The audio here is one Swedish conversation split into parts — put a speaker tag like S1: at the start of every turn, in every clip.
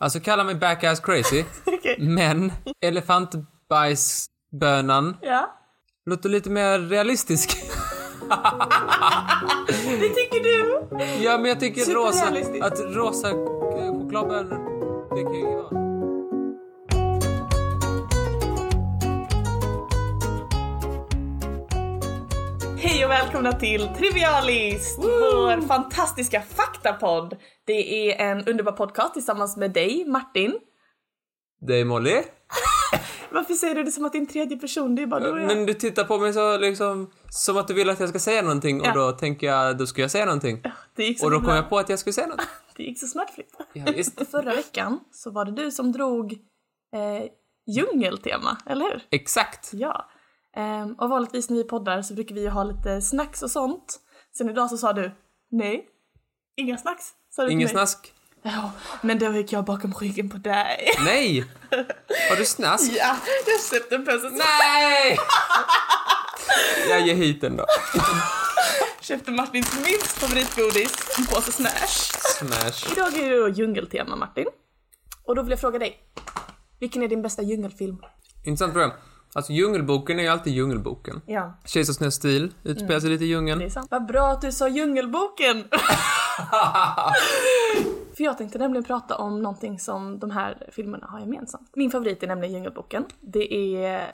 S1: Alltså kalla mig backass crazy,
S2: Okej.
S1: men elefantbajsbönan
S2: Ja.
S1: låter lite mer realistisk.
S2: Det tycker du?
S1: Ja, men jag tycker rosa,
S2: Superrealistiskt.
S1: att rosa eh, chokladbönor, det kan ju vara...
S2: Hej och välkomna till Trivialist! Vår fantastiska faktapodd. Det är en underbar podcast tillsammans med dig, Martin.
S1: Det är Molly.
S2: Varför säger du det som att det är en tredje person? Det är bara du och jag.
S1: Men du tittar på mig så liksom, som att du vill att jag ska säga någonting och
S2: Ja.
S1: då tänker jag, då ska jag säga någonting.
S2: Det gick så,
S1: Och då kom
S2: himla-
S1: jag på att jag skulle säga något.
S2: Det gick så smärtfritt.
S1: Ja, visst.
S2: Förra veckan så var det du som drog eh, djungeltema, eller hur?
S1: Exakt.
S2: Ja. Ehm, och vanligtvis när vi poddar så brukar vi ju ha lite snacks och sånt. Sen idag så sa du nej, inga snacks. Sa du till
S1: Ingen
S2: mig.
S1: snask.
S2: Ja, men då gick jag bakom ryggen på dig.
S1: Nej! Har du snask?
S2: Ja, jag släppte en påse snaps.
S1: Nej! Jag ger hit den då.
S2: Köpte Martins minst favoritgodis, en påse Snash.
S1: Smash.
S2: Idag är det då djungeltema Martin. Och då vill jag fråga dig, vilken är din bästa djungelfilm?
S1: Intressant fråga. Alltså Djungelboken är ju alltid Djungelboken.
S2: Ja, Mm.
S1: Kejsar Snö stil utspelar sig lite i
S2: det är
S1: djungeln.
S2: sant. Vad bra att du sa djungelboken! För jag tänkte nämligen prata om någonting som de här filmerna har gemensamt. Min favorit är nämligen Djungelboken. Det är...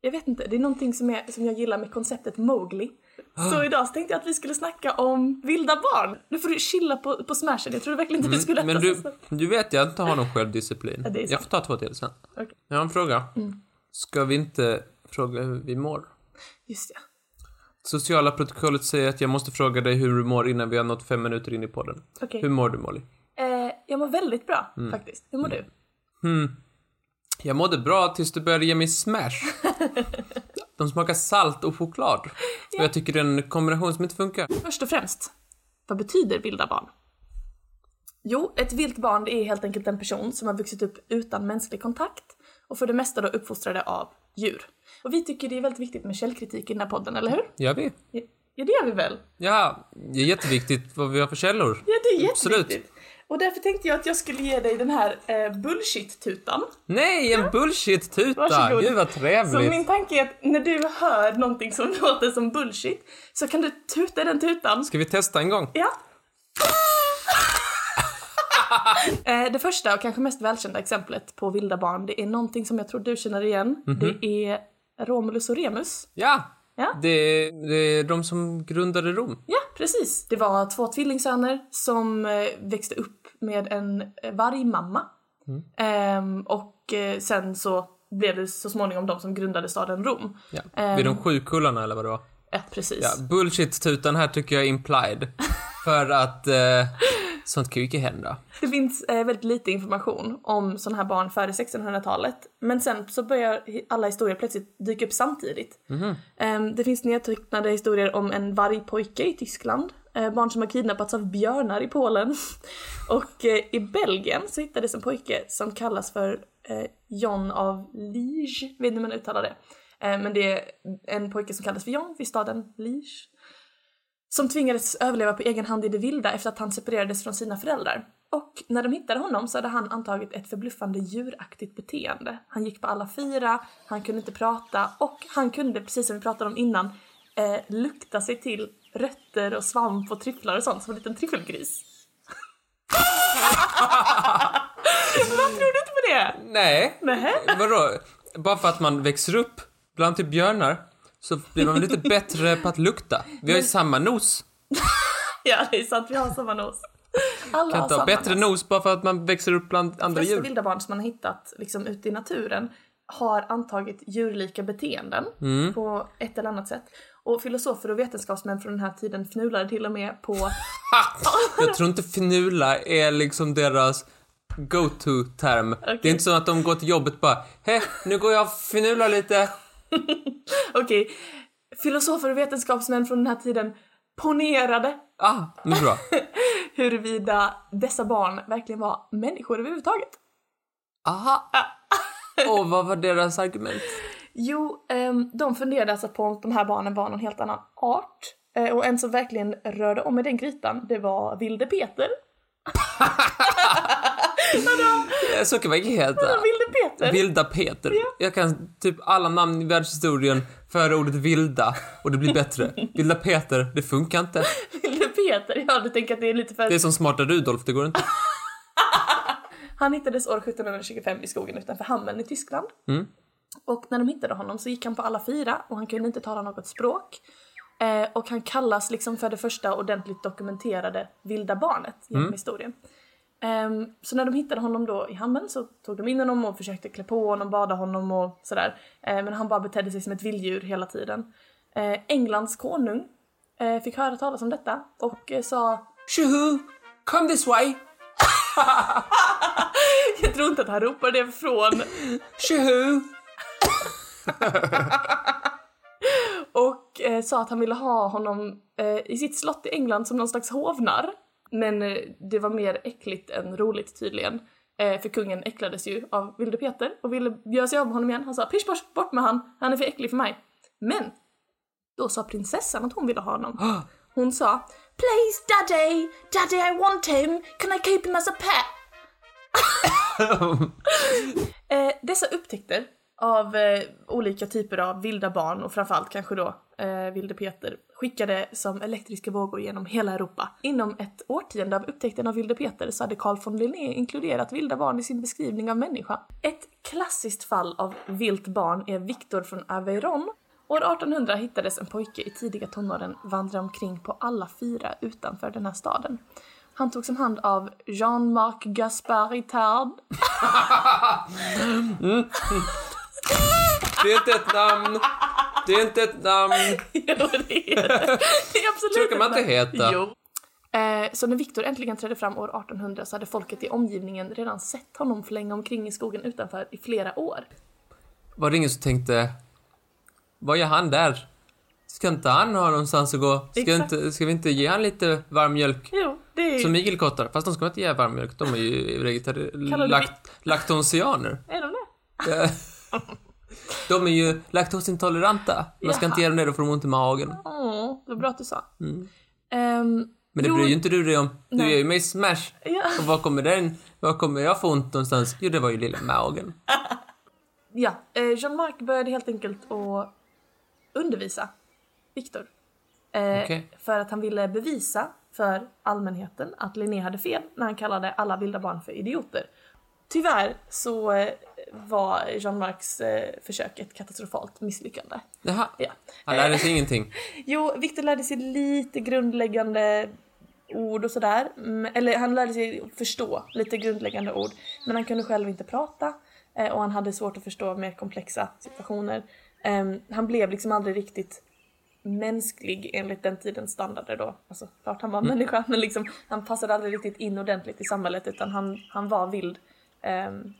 S2: Jag vet inte, det är någonting som, är, som jag gillar med konceptet Mowgli.
S1: Ah.
S2: Så idag så tänkte jag att vi skulle snacka om vilda barn. Nu får du chilla på, på smashen, jag trodde verkligen inte vi skulle
S1: Mm, Men
S2: äta
S1: du,
S2: så-
S1: du vet jag inte har någon självdisciplin.
S2: Ja, det är sant.
S1: Jag får ta två till sen.
S2: Okej. Mm.
S1: Jag har en fråga. Ska vi inte fråga hur vi mår?
S2: Just ja.
S1: Sociala protokollet säger att jag måste fråga dig hur du mår innan vi har nått fem minuter in i podden.
S2: Okej.
S1: Hur mår du Molly?
S2: Eh, jag mår väldigt bra
S1: Mm.
S2: faktiskt. Hur mår du?
S1: Jag mådde bra tills du började ge mig smash. De smakar salt och choklad. Och jag tycker det är en kombination som inte funkar.
S2: Först och främst, vad betyder vilda barn? Jo, ett vilt barn det är helt enkelt en person som har vuxit upp utan mänsklig kontakt och för det mesta då uppfostrade av djur. Och vi tycker det är väldigt viktigt med källkritik i den här podden, eller hur?
S1: Gör vi?
S2: Ja, det gör vi väl?
S1: Ja, det är jätteviktigt vad vi har för källor.
S2: Ja, det är
S1: Absolut.
S2: jätteviktigt. Och därför tänkte jag att jag skulle ge dig den här eh, bullshit-tutan.
S1: Nej, en bullshit-tuta!
S2: Varsågod.
S1: Gud vad
S2: Så
S1: trevligt!
S2: min tanke är att när du hör någonting som låter som bullshit så kan du tuta i den tutan.
S1: Ska vi testa en gång?
S2: Ja. Eh, det första och kanske mest välkända exemplet på vilda barn, det är någonting som jag tror du känner igen. Det är Romulus och Remus.
S1: Ja!
S2: Ja.
S1: Det, är, det är de som grundade Rom.
S2: Ja, precis. Det var två tvillingsöner som eh, växte upp med en eh, vargmamma. Ehm, och eh, sen så blev det så småningom de som grundade staden Rom.
S1: Ja.
S2: Ehm.
S1: Vid de sju kullarna eller vad det var.
S2: Ja, precis.
S1: Ja, bullshit-tutan här tycker jag är implied. för att eh, sånt kan ju inte hända.
S2: Det finns eh, väldigt lite information om sådana här barn före 1600-talet. Men sen så börjar hi- alla historier plötsligt dyka upp samtidigt. Ehm, det finns nedtecknade historier om en vargpojke i Tyskland, eh, barn som har kidnappats av björnar i Polen. Och eh, i Belgien så hittades en pojke som kallas för eh, John av Liege, vet inte hur man uttalar det. Eh, men det är en pojke som kallas för John vid staden Liege som tvingades överleva på egen hand i det vilda efter att han separerades från sina föräldrar. Och när de hittade honom så hade han antagit ett förbluffande djuraktigt beteende. Han gick på alla fyra, han kunde inte prata och han kunde, precis som vi pratade om innan, eh, lukta sig till rötter och svamp och tryfflar och sånt som en liten tryffelgris. Vad tror du inte på det?
S1: Nej,
S2: Nähä?
S1: vadå? Bara för att man växer upp bland typ björnar så blir man lite bättre på att lukta. Vi har ju samma nos.
S2: Ja, det är sant, vi har samma nos. Alla
S1: Kan
S2: har
S1: inte ha
S2: samma
S1: bättre nos bara för att man växer upp bland andra
S2: De flesta
S1: djur.
S2: vilda barn som man har hittat liksom, ute i naturen har antagit djurlika beteenden på ett eller annat sätt. Och filosofer och vetenskapsmän från den här tiden fnulade till och med på...
S1: Jag tror inte fnula är liksom deras go-to-term. Det är inte så att de går till jobbet och bara Hej, nu går jag och fnular lite.
S2: Okej. Filosofer och vetenskapsmän från den här tiden ponerade
S1: Ah, nu är det bra.
S2: huruvida dessa barn verkligen var människor överhuvudtaget.
S1: Aha. Och vad var deras argument?
S2: Jo, ehm, de funderade alltså på om de här barnen var någon helt annan art. Eh, och en som verkligen rörde om i den grytan, det var Vilde Peter. Vadå?
S1: eh, Zuckerberg heter
S2: Vad vill du Peter?
S1: Vilda Peter. Jag kan typ alla namn i världshistorien före ordet vilda och det blir bättre. Vilda Peter, det funkar inte.
S2: Vill du Peter? Ja, du tänker att det är lite för...
S1: Det är som Smarta Rudolf, det går inte.
S2: Han hittades år 1725 i skogen utanför Hameln i Tyskland. Och när de hittade honom så gick han på alla fyra och han kunde inte tala något språk. Eh, och han kallas liksom för det första ordentligt dokumenterade vilda barnet genom historien. Ehm, så när de hittade honom då i hamnen så tog de in honom och försökte klä på honom, bada honom och sådär. Ehm, men han bara betedde sig som ett vilddjur hela tiden. Eh, Englands konung eh, fick höra talas om detta och eh, sa
S1: Tjoho! Come this way!
S2: Jag tror inte att han ropar det från
S1: Tjoho!
S2: och eh, sa att han ville ha honom eh, i sitt slott i England som någon slags hovnar. Men eh, det var mer äckligt än roligt tydligen. Eh, för kungen äcklades ju av Vilde Peter och ville göra sig av med honom igen. Han sa pisch bosch, bort med han, han är för äcklig för mig. Men då sa prinsessan att hon ville ha honom. Hon sa Please daddy, daddy I want him, can I keep him as a pet? Eh, dessa upptäckter av eh, olika typer av vilda barn och framförallt kanske då eh, vilde Peter skickade som elektriska vågor genom hela Europa. Inom ett årtionde av upptäckten av vilde Peter så hade Carl von Linné inkluderat vilda barn i sin beskrivning av människa. Ett klassiskt fall av vilt barn är Viktor från Aveyron. År 1800 hittades en pojke i tidiga tonåren vandra omkring på alla fyra utanför den här staden. Han togs om hand av Jean-Marc Gaspard Itard
S1: Det är inte ett namn! Det är inte ett namn!
S2: Jo, det är det. Det är absolut
S1: Så kan man
S2: ett
S1: inte
S2: namn.
S1: heta.
S2: Jo. Eh, Så när Viktor äntligen trädde fram år 1800 så hade folket i omgivningen redan sett honom flänga omkring i skogen utanför i flera år.
S1: Var det ingen som tänkte, vad gör han där? Ska inte han ha någonstans att gå? Ska,
S2: Exakt.
S1: inte, ska vi inte ge han lite varm mjölk?
S2: Jo, det är
S1: Som igelkottar, fast de ska inte ge varm mjölk, de är ju
S2: Kallar
S1: vegetarianer.
S2: du
S1: Lakt, laktonsianer.
S2: Är de det?
S1: Eh, de är ju laktosintoleranta. Man ska
S2: Jaha.
S1: inte ge dem det, då får de ont i magen.
S2: Åh, det var bra att du sa.
S1: Mm.
S2: Ehm,
S1: Men det
S2: Jo.
S1: bryr ju inte du dig om. Du
S2: Nej.
S1: ger ju mig smash.
S2: ja.
S1: Och var kommer den? Var kommer jag få ont någonstans? Jo, det var ju lilla magen.
S2: ja, eh, Jean-Marc började helt enkelt att undervisa Viktor. Eh,
S1: Okej.
S2: För att han ville bevisa för allmänheten att Linné hade fel när han kallade alla vilda barn för idioter. Tyvärr så eh, var Jean-Marcs eh, försök ett katastrofalt misslyckande.
S1: Jaha,
S2: Ja.
S1: han lärde sig ingenting.
S2: Jo, Victor lärde sig lite grundläggande ord och sådär. Mm, Eller han lärde sig förstå lite grundläggande ord. Men han kunde själv inte prata eh, och han hade svårt att förstå mer komplexa situationer. Ehm, Han blev liksom aldrig riktigt mänsklig enligt den tidens standarder då. Alltså klart han var människa men liksom han passade aldrig riktigt in ordentligt i samhället utan han, han var vild ehm,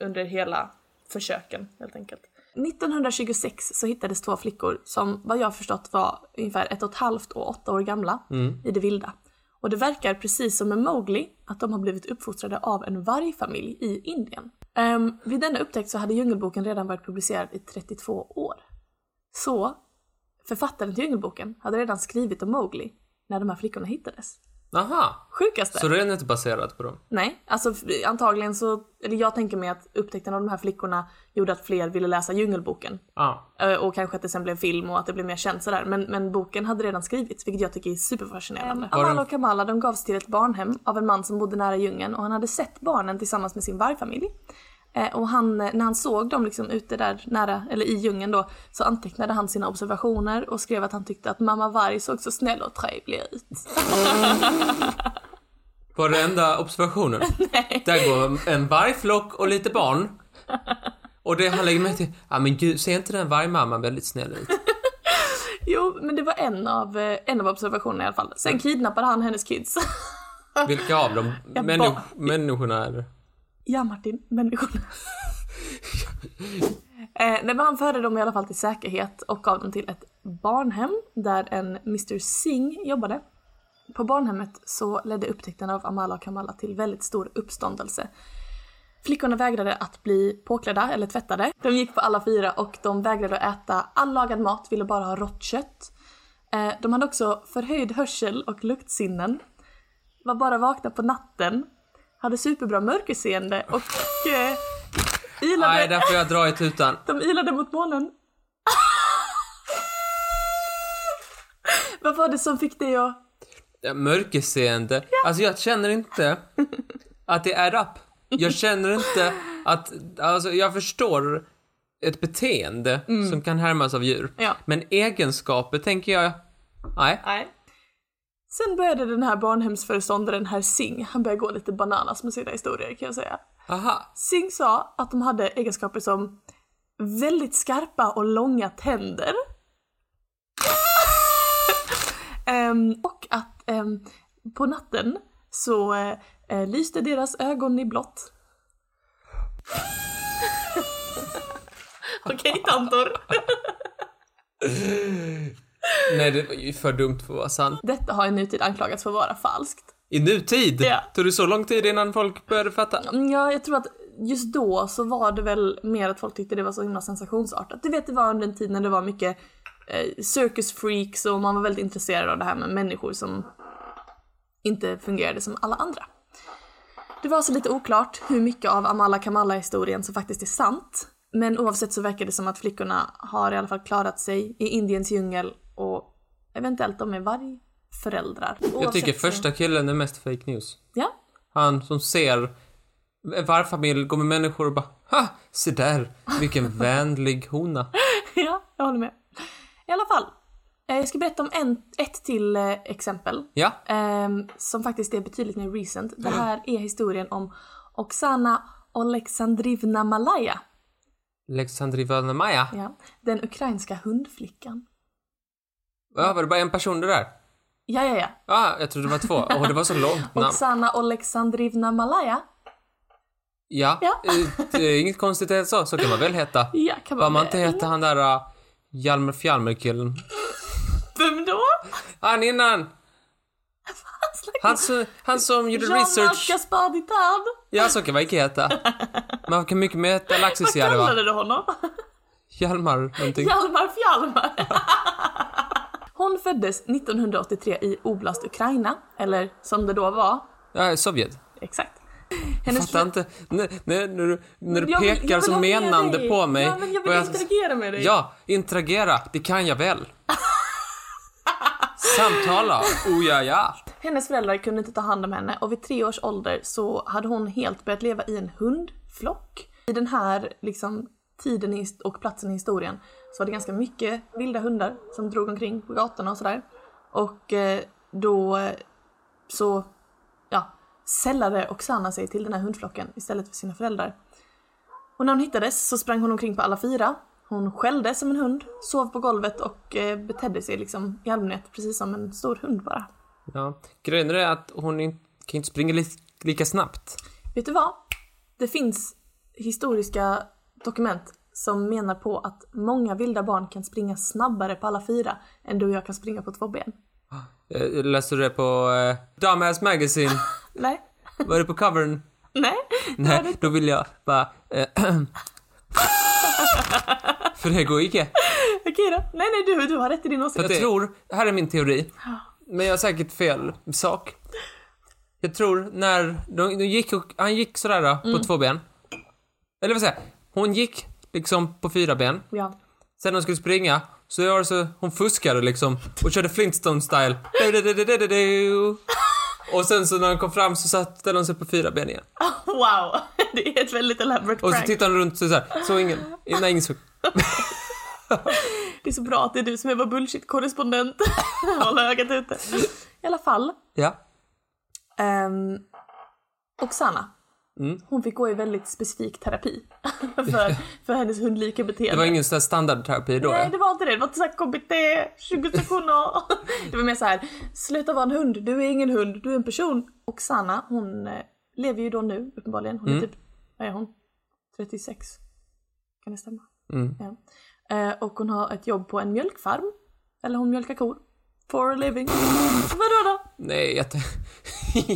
S2: under hela försöken helt enkelt. 1926 så hittades två flickor som vad jag förstått var ungefär ett och ett halvt och åtta år gamla i det vilda. Och det verkar precis som med Mowgli att de har blivit uppfostrade av en vargfamilj i Indien. Ehm, vid denna upptäckt så hade Djungelboken redan varit publicerad i 32 år. Så författaren till Djungelboken hade redan skrivit om Mowgli när de här flickorna hittades.
S1: Jaha,
S2: Sjukaste!
S1: så det är inte baserat på dem?
S2: Nej, alltså f- antagligen så, eller jag tänker mig att upptäckten av de här flickorna gjorde att fler ville läsa Djungelboken.
S1: Ja.
S2: Ö, Och kanske att det sen blev film och att det blev mer känt sådär. Men, men boken hade redan skrivits, vilket jag tycker är superfascinerande.
S1: Har den-
S2: Ehm, Amal och Kamala de gavs till ett barnhem av en man som bodde nära djungeln och han hade sett barnen tillsammans med sin vargfamilj. Eh, Och han, eh, när han såg dem liksom ute där nära, eller i djungeln då, så antecknade han sina observationer och skrev att han tyckte att mamma varg såg så snäll och trevlig ut.
S1: På den enda observationen? Där går en vargflock och lite barn. Och det han lägger med till, ja men gud, ser inte den vargmamman väldigt snäll ut?
S2: Jo, men det var en av, eh, en av observationerna i alla fall. Sen kidnappade han hennes kids.
S1: Vilka av dem?
S2: Ja,
S1: Människ-
S2: barn.
S1: människorna är det?
S2: Ja Martin, människorna. eh, nej, men han förde dem i alla fall till säkerhet och gav dem till ett barnhem där en Mr Singh jobbade. På barnhemmet så ledde upptäckten av Amala och Kamala till väldigt stor uppståndelse. Flickorna vägrade att bli påklädda eller tvättade. De gick på alla fyra och de vägrade att äta all lagad mat, ville bara ha rått kött. Eh, de hade också förhöjd hörsel och luktsinnen. Var bara vakna på natten hade superbra mörkerseende och eh, ilade,
S1: Nej, där får jag dra i tutan.
S2: de ilade mot månen. Vad var det som fick dig att...
S1: Ja, Mörkerseende. Alltså jag känner inte att det är upp. Jag känner inte att, alltså jag förstår ett beteende som kan härmas av djur.
S2: Mm. Ja.
S1: Men egenskaper tänker jag, nej.
S2: Nej. Sen började den här barnhemsföreståndaren herr Singh, han började gå lite bananas med sina historier kan jag säga.
S1: Aha.
S2: Singh sa att de hade egenskaper som väldigt skarpa och långa tänder. Ehm, och att ehm, på natten så eh, eh, lyste deras ögon i blått. Okej tantor.
S1: Nej, det var ju för dumt för att vara sant.
S2: Detta har i nutid anklagats för att vara falskt.
S1: I nutid?
S2: Ja.
S1: Tog det så lång tid innan folk började fatta?
S2: Mm, Ja, jag tror att just då så var det väl mer att folk tyckte det var så himla sensationsartat. Du vet, det var under en tid när det var mycket eh, circus freaks och man var väldigt intresserad av det här med människor som inte fungerade som alla andra. Det var så lite oklart hur mycket av Amala Kamala-historien som faktiskt är sant. Men oavsett så verkar det som att flickorna har i alla fall klarat sig i Indiens djungel och eventuellt de är vargföräldrar.
S1: Jag tycker
S2: Oavsett så-
S1: första killen är mest fake news.
S2: Ja,
S1: Han som ser en vargfamilj gå med människor och bara ha, se där, vilken vänlig hona.
S2: ja, jag håller med. I alla fall. eh, Jag ska berätta om en, ett till eh, exempel.
S1: Ja,
S2: ehm, som faktiskt är betydligt mer recent. Det här är historien om Oksana Oleksandrivna Malaya.
S1: Alexandri Valnamaja.
S2: Ja, den ukrainska hundflickan.
S1: Ja, var det bara en person det där?
S2: Ja, ja, ja.
S1: Ja, jag trodde det var två. Åh, det var så långt namn.
S2: Oksana Oleksandrivna Malaya.
S1: Ja,
S2: Ja.
S1: eh, det är inget konstigt än så. Så kan man väl heta.
S2: Ja, kan
S1: Vad
S2: man
S1: man inte hette han där uh, Hjalmar Fjalmer-killen.
S2: Vem då?
S1: Han innan!
S2: Han slags-
S1: Ah, Han, som- han som gjorde
S2: Jean-Marc
S1: research.
S2: Gaspard
S1: Ja, så kan man inte heta. Man kan mycket mer heta
S2: Vad
S1: Laxisjärva.
S2: kallade du honom?
S1: Hjalmar någonting.
S2: Hjalmar Fjalmar! Hon föddes 1983 i Oblast, Ukraina, eller som det då var,
S1: Ja, Sovjet.
S2: exakt. Hennes
S1: Fattar inte. N- när, när du, när du
S2: Jag vill- jag
S1: pekar
S2: vill ha
S1: som
S2: med
S1: menande
S2: dig.
S1: på mig.
S2: Ja, men jag vill
S1: och
S2: interagera med dig.
S1: Ja, interagera. Det kan jag väl. Samtala. Oh ja, ja.
S2: Hennes föräldrar kunde inte ta hand om henne och vid tre års ålder så hade hon helt börjat leva i en hundflock. I den här liksom, tiden i- och platsen i historien så var det ganska mycket vilda hundar som drog omkring på gatorna och sådär. Och eh, då eh, så ja, sällade Oksana sig till den här hundflocken istället för sina föräldrar. Och när hon hittades så sprang hon omkring på alla fyra. Hon skällde som en hund, sov på golvet och eh, betedde sig liksom i allmänhet precis som en stor hund bara.
S1: ja. Grejen är att hon in, kan inte springa li, lika snabbt.
S2: Vet du vad? Det finns historiska dokument som menar på att många vilda barn kan springa snabbare på alla fyra än du och jag kan springa på två ben.
S1: Eh, Läste du det på eh, Dumbass Magazine?
S2: Nej,
S1: Var det på covern?
S2: nej.
S1: Nej, då vill jag bara... Eh, för det går inte.
S2: Okej då. Nej, nej, du, du har rätt i din åsikt.
S1: Jag tror, här är min teori, men jag har säkert fel sak. Jag tror när de, de gick och, han gick sådär då, på två ben. Eller vad säger jag? Hon gick liksom på fyra ben.
S2: Ja.
S1: Sen när hon skulle springa så gör så, hon fuskade liksom och körde Flintstone style. Du-du-du-du-du-du. Och sen så när hon kom fram så satt, ställde hon sig på fyra ben igen.
S2: Wow, det är ett väldigt elaborate
S1: Och så typ-
S2: prank.
S1: tittade hon runt så här, så ingen, nej ingen såg.
S2: Det är så bra att det är du som är vår bullshit-korrespondent. Håll ögat ute. I alla fall,
S1: Ja.
S2: Ehm, Oksana.
S1: Mm.
S2: Hon fick gå i väldigt specifik terapi för, för hennes hundlika beteende.
S1: Det var ingen sån här standardterapi då
S2: Nej,
S1: ja.
S2: det var inte det. Det var inte såhär KBT, 20 sektioner. Det var mer så här: sluta vara en hund, du är ingen hund, du är en person. Och Sanna, hon eh, lever ju då nu uppenbarligen. Hon är
S1: Mm.
S2: typ, vad är hon? 36? Kan det stämma?
S1: Mm.
S2: Ja. Eh, och hon har ett jobb på en mjölkfarm. Eller hon mjölkar kor. For a living. Vadå då?
S1: Nej, jag, t-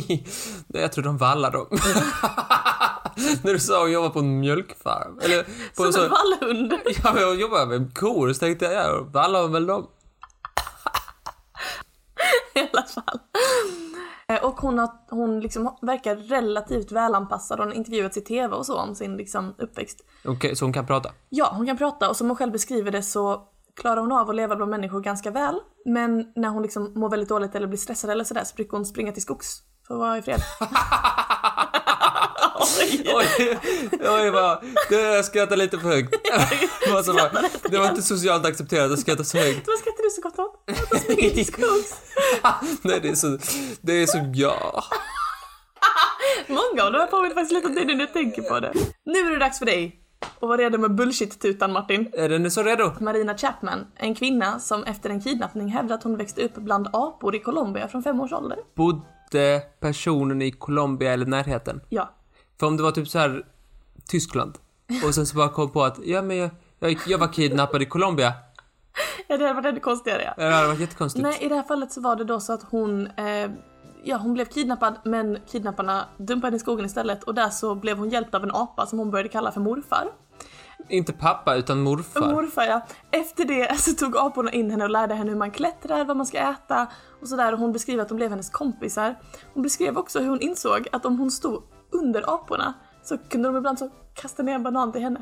S1: Nej, jag tror de vallar dem. När du sa hon jobbar på en mjölkfarm. Eller på en
S2: Som
S1: sån...
S2: en vallhund.
S1: Ja, men hon jobbar med kor, så tänkte jag, ja, vallar hon väl dem?
S2: I alla fall. Eh, Och hon, har, hon liksom verkar relativt välanpassad. Hon har intervjuats i TV och så om sin liksom uppväxt.
S1: Okej, så hon kan prata?
S2: Ja, hon kan prata och som hon själv beskriver det så klarar hon av att leva bland människor ganska väl. Men när hon liksom mår väldigt dåligt eller blir stressad eller sådär så brukar hon springa till skogs för att vara i fred. Oj.
S1: Oj, oj vad, det- jag skrattar lite för högt. Vad som var- det var inte socialt accepterat att skratta så högt.
S2: Vad skrattar du så gott åt? Att hon springer till skogs.
S1: Nej, det är så, det är så, ja.
S2: Många av de här påminner faktiskt lite om dig nu när jag tänker på det. Nu är det dags för dig att vara redo med bullshit-tutan Martin.
S1: Är den nu så redo?
S2: Marina Chapman, en kvinna som efter en kidnappning hävdar att hon växte upp bland apor i Colombia från fem års ålder.
S1: Bodde personen i Colombia eller närheten?
S2: Ja,
S1: För om det var typ så här Tyskland och sen så bara kom på att ja men jag, jag, jag var kidnappad i Colombia.
S2: Ja, det hade varit ännu konstigare ja.
S1: Det hade varit jättekonstigt.
S2: Nej, i det här fallet så var det då så att hon, eh, ja hon blev kidnappad men kidnapparna dumpade henne i skogen istället och där så blev hon hjälpt av en apa som hon började kalla för morfar.
S1: Inte pappa utan morfar.
S2: Morfar ja. Efter det så tog aporna in henne och lärde henne hur man klättrar, vad man ska äta och sådär och hon beskrev att de blev hennes kompisar. Hon beskrev också hur hon insåg att om hon stod under aporna så kunde de ibland så kasta ner en banan till henne.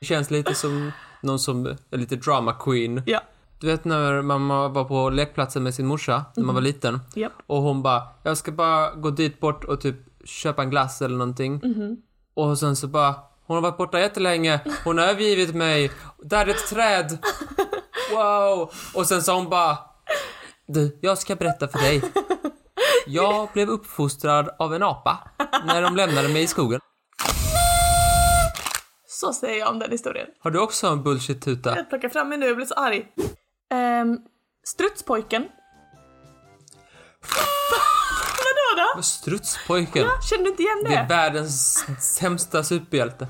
S1: Det känns lite som någon som är lite drama queen.
S2: Ja,
S1: Du vet när mamma var på lekplatsen med sin morsa när man var liten
S2: japp.
S1: och hon bara, jag ska bara gå dit bort och typ köpa en glass eller någonting. Och sen så bara, hon har varit borta jättelänge, hon har övergivit mig, där är ett träd. Wow! Och sen sa hon bara, du, jag ska berätta för dig. Jag blev uppfostrad av en apa när de lämnade mig i skogen.
S2: Så säger jag om den historien.
S1: Har du också en bullshit-tuta?
S2: Jag plockar fram mig nu, jag blir så arg. Ehm, strutspojken. Vadå då?
S1: Strutspojken.
S2: Känner du inte igen
S1: Det är
S2: det?
S1: världens sämsta superhjälte.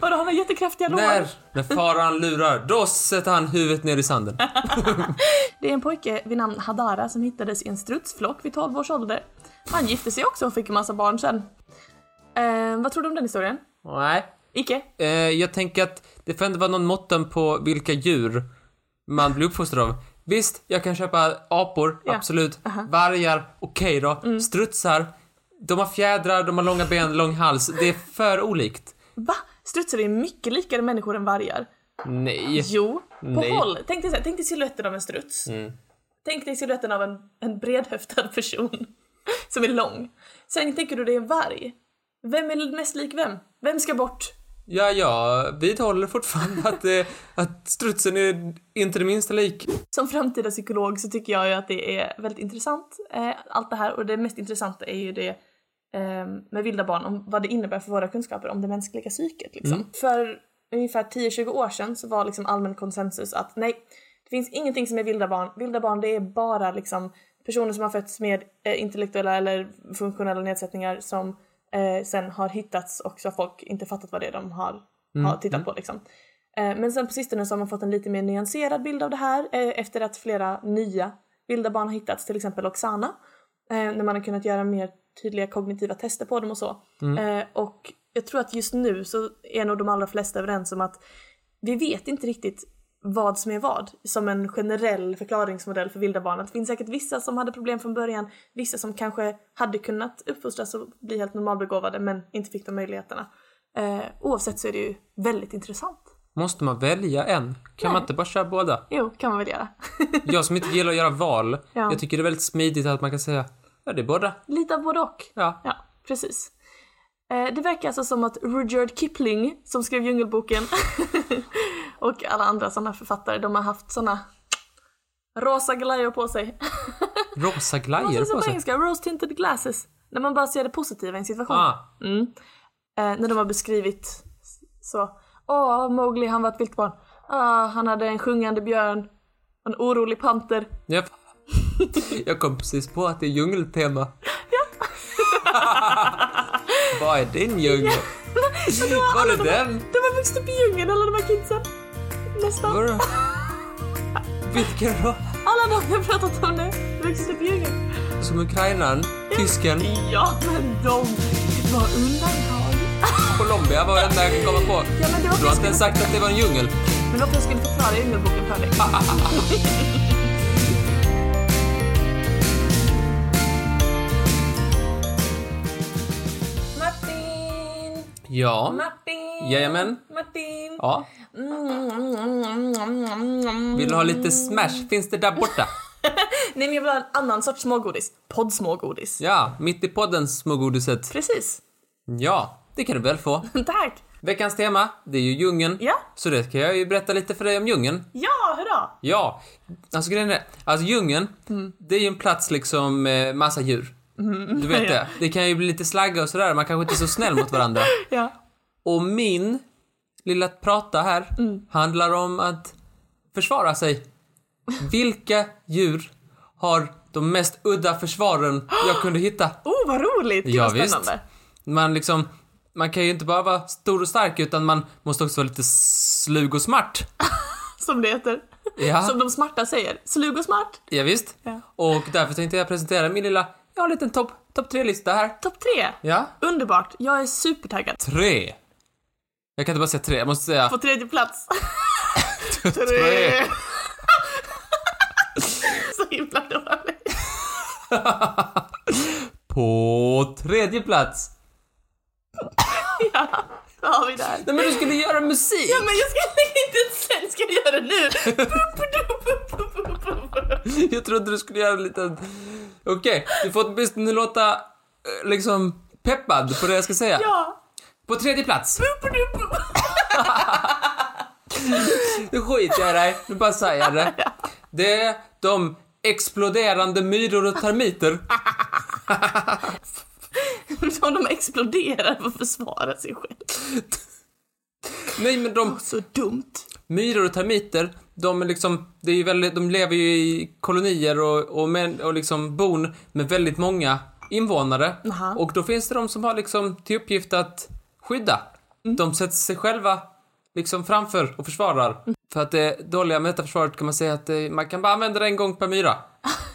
S2: Vadå, han har jättekraftiga lår?
S1: När, när faran lurar, då sätter han huvudet ner i sanden.
S2: Det är en pojke vid namn Hadara som hittades i en strutsflock vid 12 års ålder. Han gifte sig också och fick en massa barn sen. Ehm, vad tror du om den historien?
S1: Nej.
S2: Icke?
S1: Eh, jag tänker att det får ändå vara någon måtten på vilka djur man blir uppfostrad av. Visst, jag kan köpa apor,
S2: Ja.
S1: absolut. Vargar, okej då. Strutsar, de har fjädrar, de har långa ben, lång hals. Det är för olikt.
S2: Va? Strutsar är mycket likare människor än vargar.
S1: Nej.
S2: Jo, på
S1: Nej.
S2: håll. Tänk dig, så här, tänk dig siluetten av en struts. Tänk dig siluetten av en, en bredhöftad person som är lång. Sen tänker du det är en varg. Vem är mest lik vem? Vem ska bort?
S1: Ja, jag vidhåller fortfarande att, eh, att strutsen är inte det minsta lik.
S2: Som framtida psykolog så tycker jag ju att det är väldigt intressant, eh, allt det här. Och det mest intressanta är ju det eh, med vilda barn, om vad det innebär för våra kunskaper om det mänskliga psyket. Liksom. För ungefär 10-20 år sedan så var liksom allmän konsensus att nej, det finns ingenting som är vilda barn. Vilda barn det är bara liksom personer som har fötts med eh, intellektuella eller funktionella nedsättningar som eh, sen har hittats och så har folk inte fattat vad det är de har, har tittat på. Liksom. Eh, Men sen på sistone så har man fått en lite mer nyanserad bild av det här eh, efter att flera nya vilda barn har hittats, till exempel Oksana. eh, När man har kunnat göra mer tydliga kognitiva tester på dem och så. Eh, Och jag tror att just nu så är nog de allra flesta överens om att vi vet inte riktigt vad som är vad som en generell förklaringsmodell för vilda barn. Att det finns säkert vissa som hade problem från början, vissa som kanske hade kunnat uppfostras och bli helt normalbegåvade men inte fick de möjligheterna. Eh, oavsett så är det ju väldigt intressant.
S1: Måste man välja en? Kan man
S2: Nej.
S1: inte bara köra båda?
S2: Jo, kan man väl göra.
S1: Jag som inte gillar att göra val,
S2: Ja.
S1: jag tycker det är väldigt smidigt att man kan säga ja, det är båda.
S2: Lite av både och.
S1: Ja.
S2: Ja, precis. Eh, Det verkar alltså som att Rudyard Kipling, som skrev Djungelboken, och alla andra sådana författare, de har haft sådana rosa glajjor på sig.
S1: Rosa
S2: Det
S1: glajjor
S2: är som
S1: på
S2: på
S1: sig.
S2: engelska, rose tinted glasses. När man bara ser det positiva i en situation.
S1: Ah,
S2: Eh, när de har beskrivit så. Åh, Mowgli han var ett vilt barn. Ah, han hade en sjungande björn. En orolig panter.
S1: jag, jag kom precis på att det är djungeltema. Vad är din djungel? Var det den?
S2: De har vuxit upp i djungeln alla de här kidsen. Nästan.
S1: Var det... Vilken då?
S2: Alla de jag pratat om nu, vuxit upp i djungeln.
S1: Som ukrainaren, tysken,
S2: Ja, men de var undantag.
S1: Colombia var det enda jag kan komma på.
S2: Ja, men det var
S1: Du har
S2: för
S1: inte ens sagt att det var en djungel.
S2: Men varför jag skulle förklara djungelboken för dig.
S1: Ja.
S2: Mm. Martin!
S1: Jajamän.
S2: Martin!
S1: Ja. Vill du ha lite smash? Finns det där borta?
S2: Nej men jag vill ha en annan sorts smågodis. Poddsmågodis.
S1: Ja, mitt i podden smågodiset.
S2: Precis.
S1: Ja, det kan du väl få.
S2: Tack!
S1: Veckans tema, det är ju djungeln.
S2: Ja.
S1: Så det kan jag ju berätta lite för dig om djungeln.
S2: Ja, hurra!
S1: Ja, alltså grejen är alltså djungeln, det är ju en plats liksom med massa djur. Du vet
S2: Ja.
S1: det. Det kan ju bli lite slagga och sådär, man kanske inte är så snäll mot varandra.
S2: Ja.
S1: Och min lilla prata här handlar om att försvara sig. Vilka djur har de mest udda försvaren jag kunde hitta?
S2: Oh, vad roligt! Gud,
S1: Ja,
S2: vad
S1: visst.
S2: spännande.
S1: Man liksom, man kan ju inte bara vara stor och stark utan man måste också vara lite slug och smart.
S2: Som det heter.
S1: Ja.
S2: Som de smarta säger. Slug och smart.
S1: Ja, visst.
S2: Ja.
S1: Och därför tänkte jag presentera min lilla, jag har en liten topp top tre-lista här.
S2: Topp tre.
S1: Ja.
S2: Underbart. Jag är supertaggad.
S1: Tre. Jag kan inte bara säga tre, jag måste säga
S2: På tredje plats.
S1: tre.
S2: Så himla dåligt.
S1: På tredje plats.
S2: Ja, då har vi där.
S1: Nej men du skulle göra musik!
S2: Ja, men jag ska inte sen ska jag göra det nu.
S1: Jag trodde du skulle göra en liten... Okej, du får åtminstone låta eh, liksom peppad på det jag ska säga.
S2: Ja.
S1: På tredje plats. Nu skiter jag i dig, nu bara säger jag det. Det är de exploderande myror och termiter.
S2: Som de exploderar för att försvara sig själv.
S1: Nej men de
S2: Så dumt.
S1: myror och termiter, de är liksom, det är ju väldigt, de lever ju i kolonier och, och, män, och liksom bon med väldigt många invånare.
S2: Aha.
S1: Och då finns det de som har liksom till uppgift att skydda. De sätter sig själva liksom framför och försvarar. För att det dåliga med detta försvaret kan man säga att det, man kan bara använda det en gång per myra.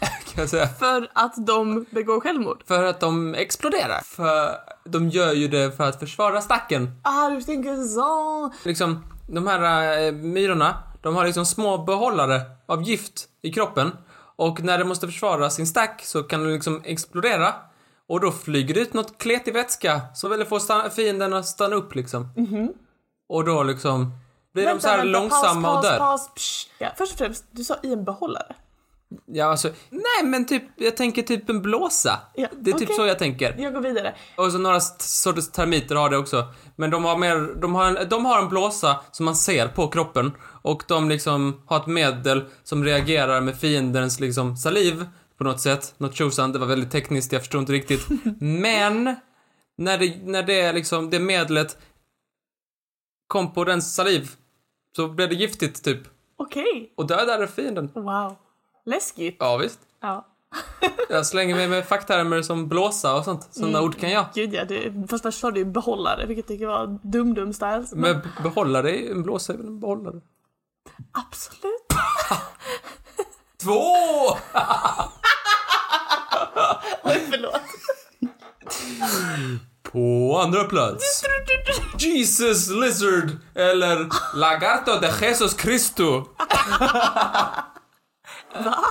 S1: kan jag säga.
S2: För att de begår självmord.
S1: För att de exploderar. För de gör ju det för att försvara stacken.
S2: Ah, du tänker så.
S1: liksom, de här eh, myrorna, de har liksom små behållare av gift i kroppen. Och när de måste försvara sin stack så kan de liksom explodera. Och då flyger det ut något kletig vätska som väl får stanna, fienden att stanna upp liksom. Och då liksom blir de så här långsamma
S2: Mhm. paus,
S1: och dör.
S2: Paus, psch. ja, först och främst, du sa i en behållare.
S1: Ja, alltså, nej men typ, jag tänker typ en blåsa.
S2: Ja,
S1: det är typ
S2: okej.
S1: så jag tänker.
S2: Jag går vidare.
S1: Och så några st- sorters termiter har det också. Men de har mer, de har en, de har en blåsa som man ser på kroppen. Och de liksom har ett medel som reagerar med fiendens liksom saliv på något sätt. Något tjosan, det var väldigt tekniskt, jag förstår inte riktigt. Men, när det, när det är liksom, det medlet kom på dens saliv så blev det giftigt typ.
S2: Okej.
S1: Och dödade fienden.
S2: Wow. Läskigt.
S1: Ja, visst.
S2: Ja.
S1: Jag slänger mig med facktermer som blåsa och sånt. Sådana ord kan jag.
S2: Gud ja, det, först först sa du ju behållare, vilket jag tycker var dum-dum-styles. Men
S1: Men behållare, är ju- en blåsa är väl en behållare?
S2: absolut.
S1: Två!
S2: Oj, förlåt.
S1: På andra plats. Jesus Lizard eller Lagarto de Jesus Cristo.
S2: Va?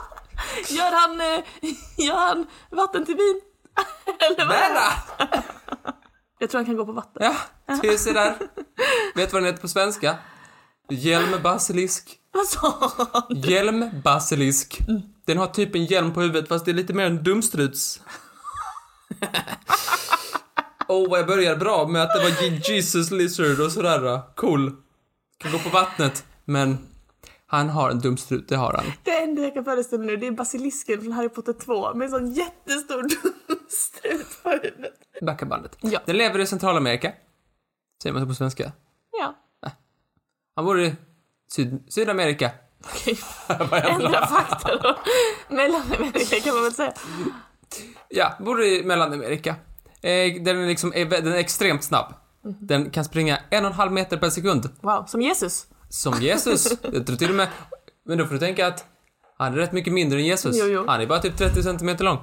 S2: Gör han, eh, gör han vatten till vin? Eller vad?
S1: Nära!
S2: Jag tror han kan gå på vatten.
S1: Ja, se se där. Vet du vad den heter på svenska? Hjälm basilisk.
S2: Vad sa han?
S1: Hjälm basilisk. Den har typ en hjälm på huvudet fast det är lite mer en dumstruts. Åh, vad jag börjar bra med att det var Jesus Lizard och sådär. Cool. Kan gå på vattnet. Men han har en dumstrut, det har han.
S2: Det enda jag kan föreställa mig nu det är basilisken från Harry Potter 2 med en sån jättestor strut på huvudet.
S1: Backa bandet.
S2: Ja.
S1: Den lever i Centralamerika. Säger man så på svenska.
S2: Ja,
S1: Han bor i Syd- Sydamerika.
S2: okej. Ändra fakta då. Mellanamerika kan man väl säga.
S1: Ja, bor i Mellanamerika. Eh, den, är liksom, är vä- den är extremt snabb.
S2: Mhm.
S1: Den kan springa en och en halv meter per sekund.
S2: Wow, som Jesus.
S1: Som Jesus. Jag tror till och med... Men då får du tänka att han är rätt mycket mindre än Jesus.
S2: Jo, jo.
S1: Han är bara typ 30 centimeter lång.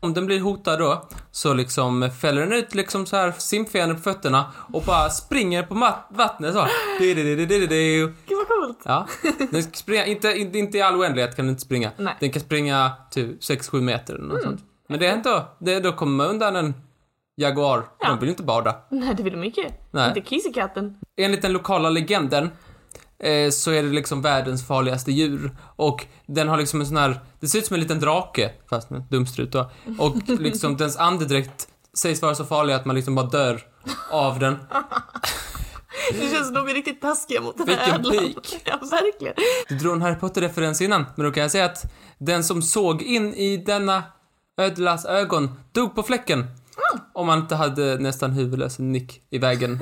S1: Om den blir hotad då, så liksom fäller den ut liksom så här simfenor på fötterna och bara springer på mat- vattnet så. Di-di-di-di-di-di.
S2: Gud vad coolt.
S1: Ja. Den ska springa, inte, inte, inte i all oändlighet kan den inte springa.
S2: Nej. Mm.
S1: Den kan springa typ 6-7 meter eller något sånt. Men det är ändå, det, då kommer man undan en Jaguar,
S2: Ja.
S1: de vill ju inte bada.
S2: Nej, det vill de inte.
S1: Nej.
S2: Inte kissekatten.
S1: Enligt den lokala legenden eh, så är det liksom världens farligaste djur. Och den har liksom en sån här, det ser ut som en liten drake, fast med dumstrut då. Och liksom dens andedräkt sägs vara så farlig att man liksom bara dör av den.
S2: Det känns som de är riktigt taskiga mot den här
S1: Vilken
S2: ädlan.
S1: pik.
S2: Ja, verkligen.
S1: Du drog en Harry Potter-referens innan, men då kan jag säga att den som såg in i denna ödlas ögon dog på fläcken. Om man inte hade nästan huvudlös nick i vägen.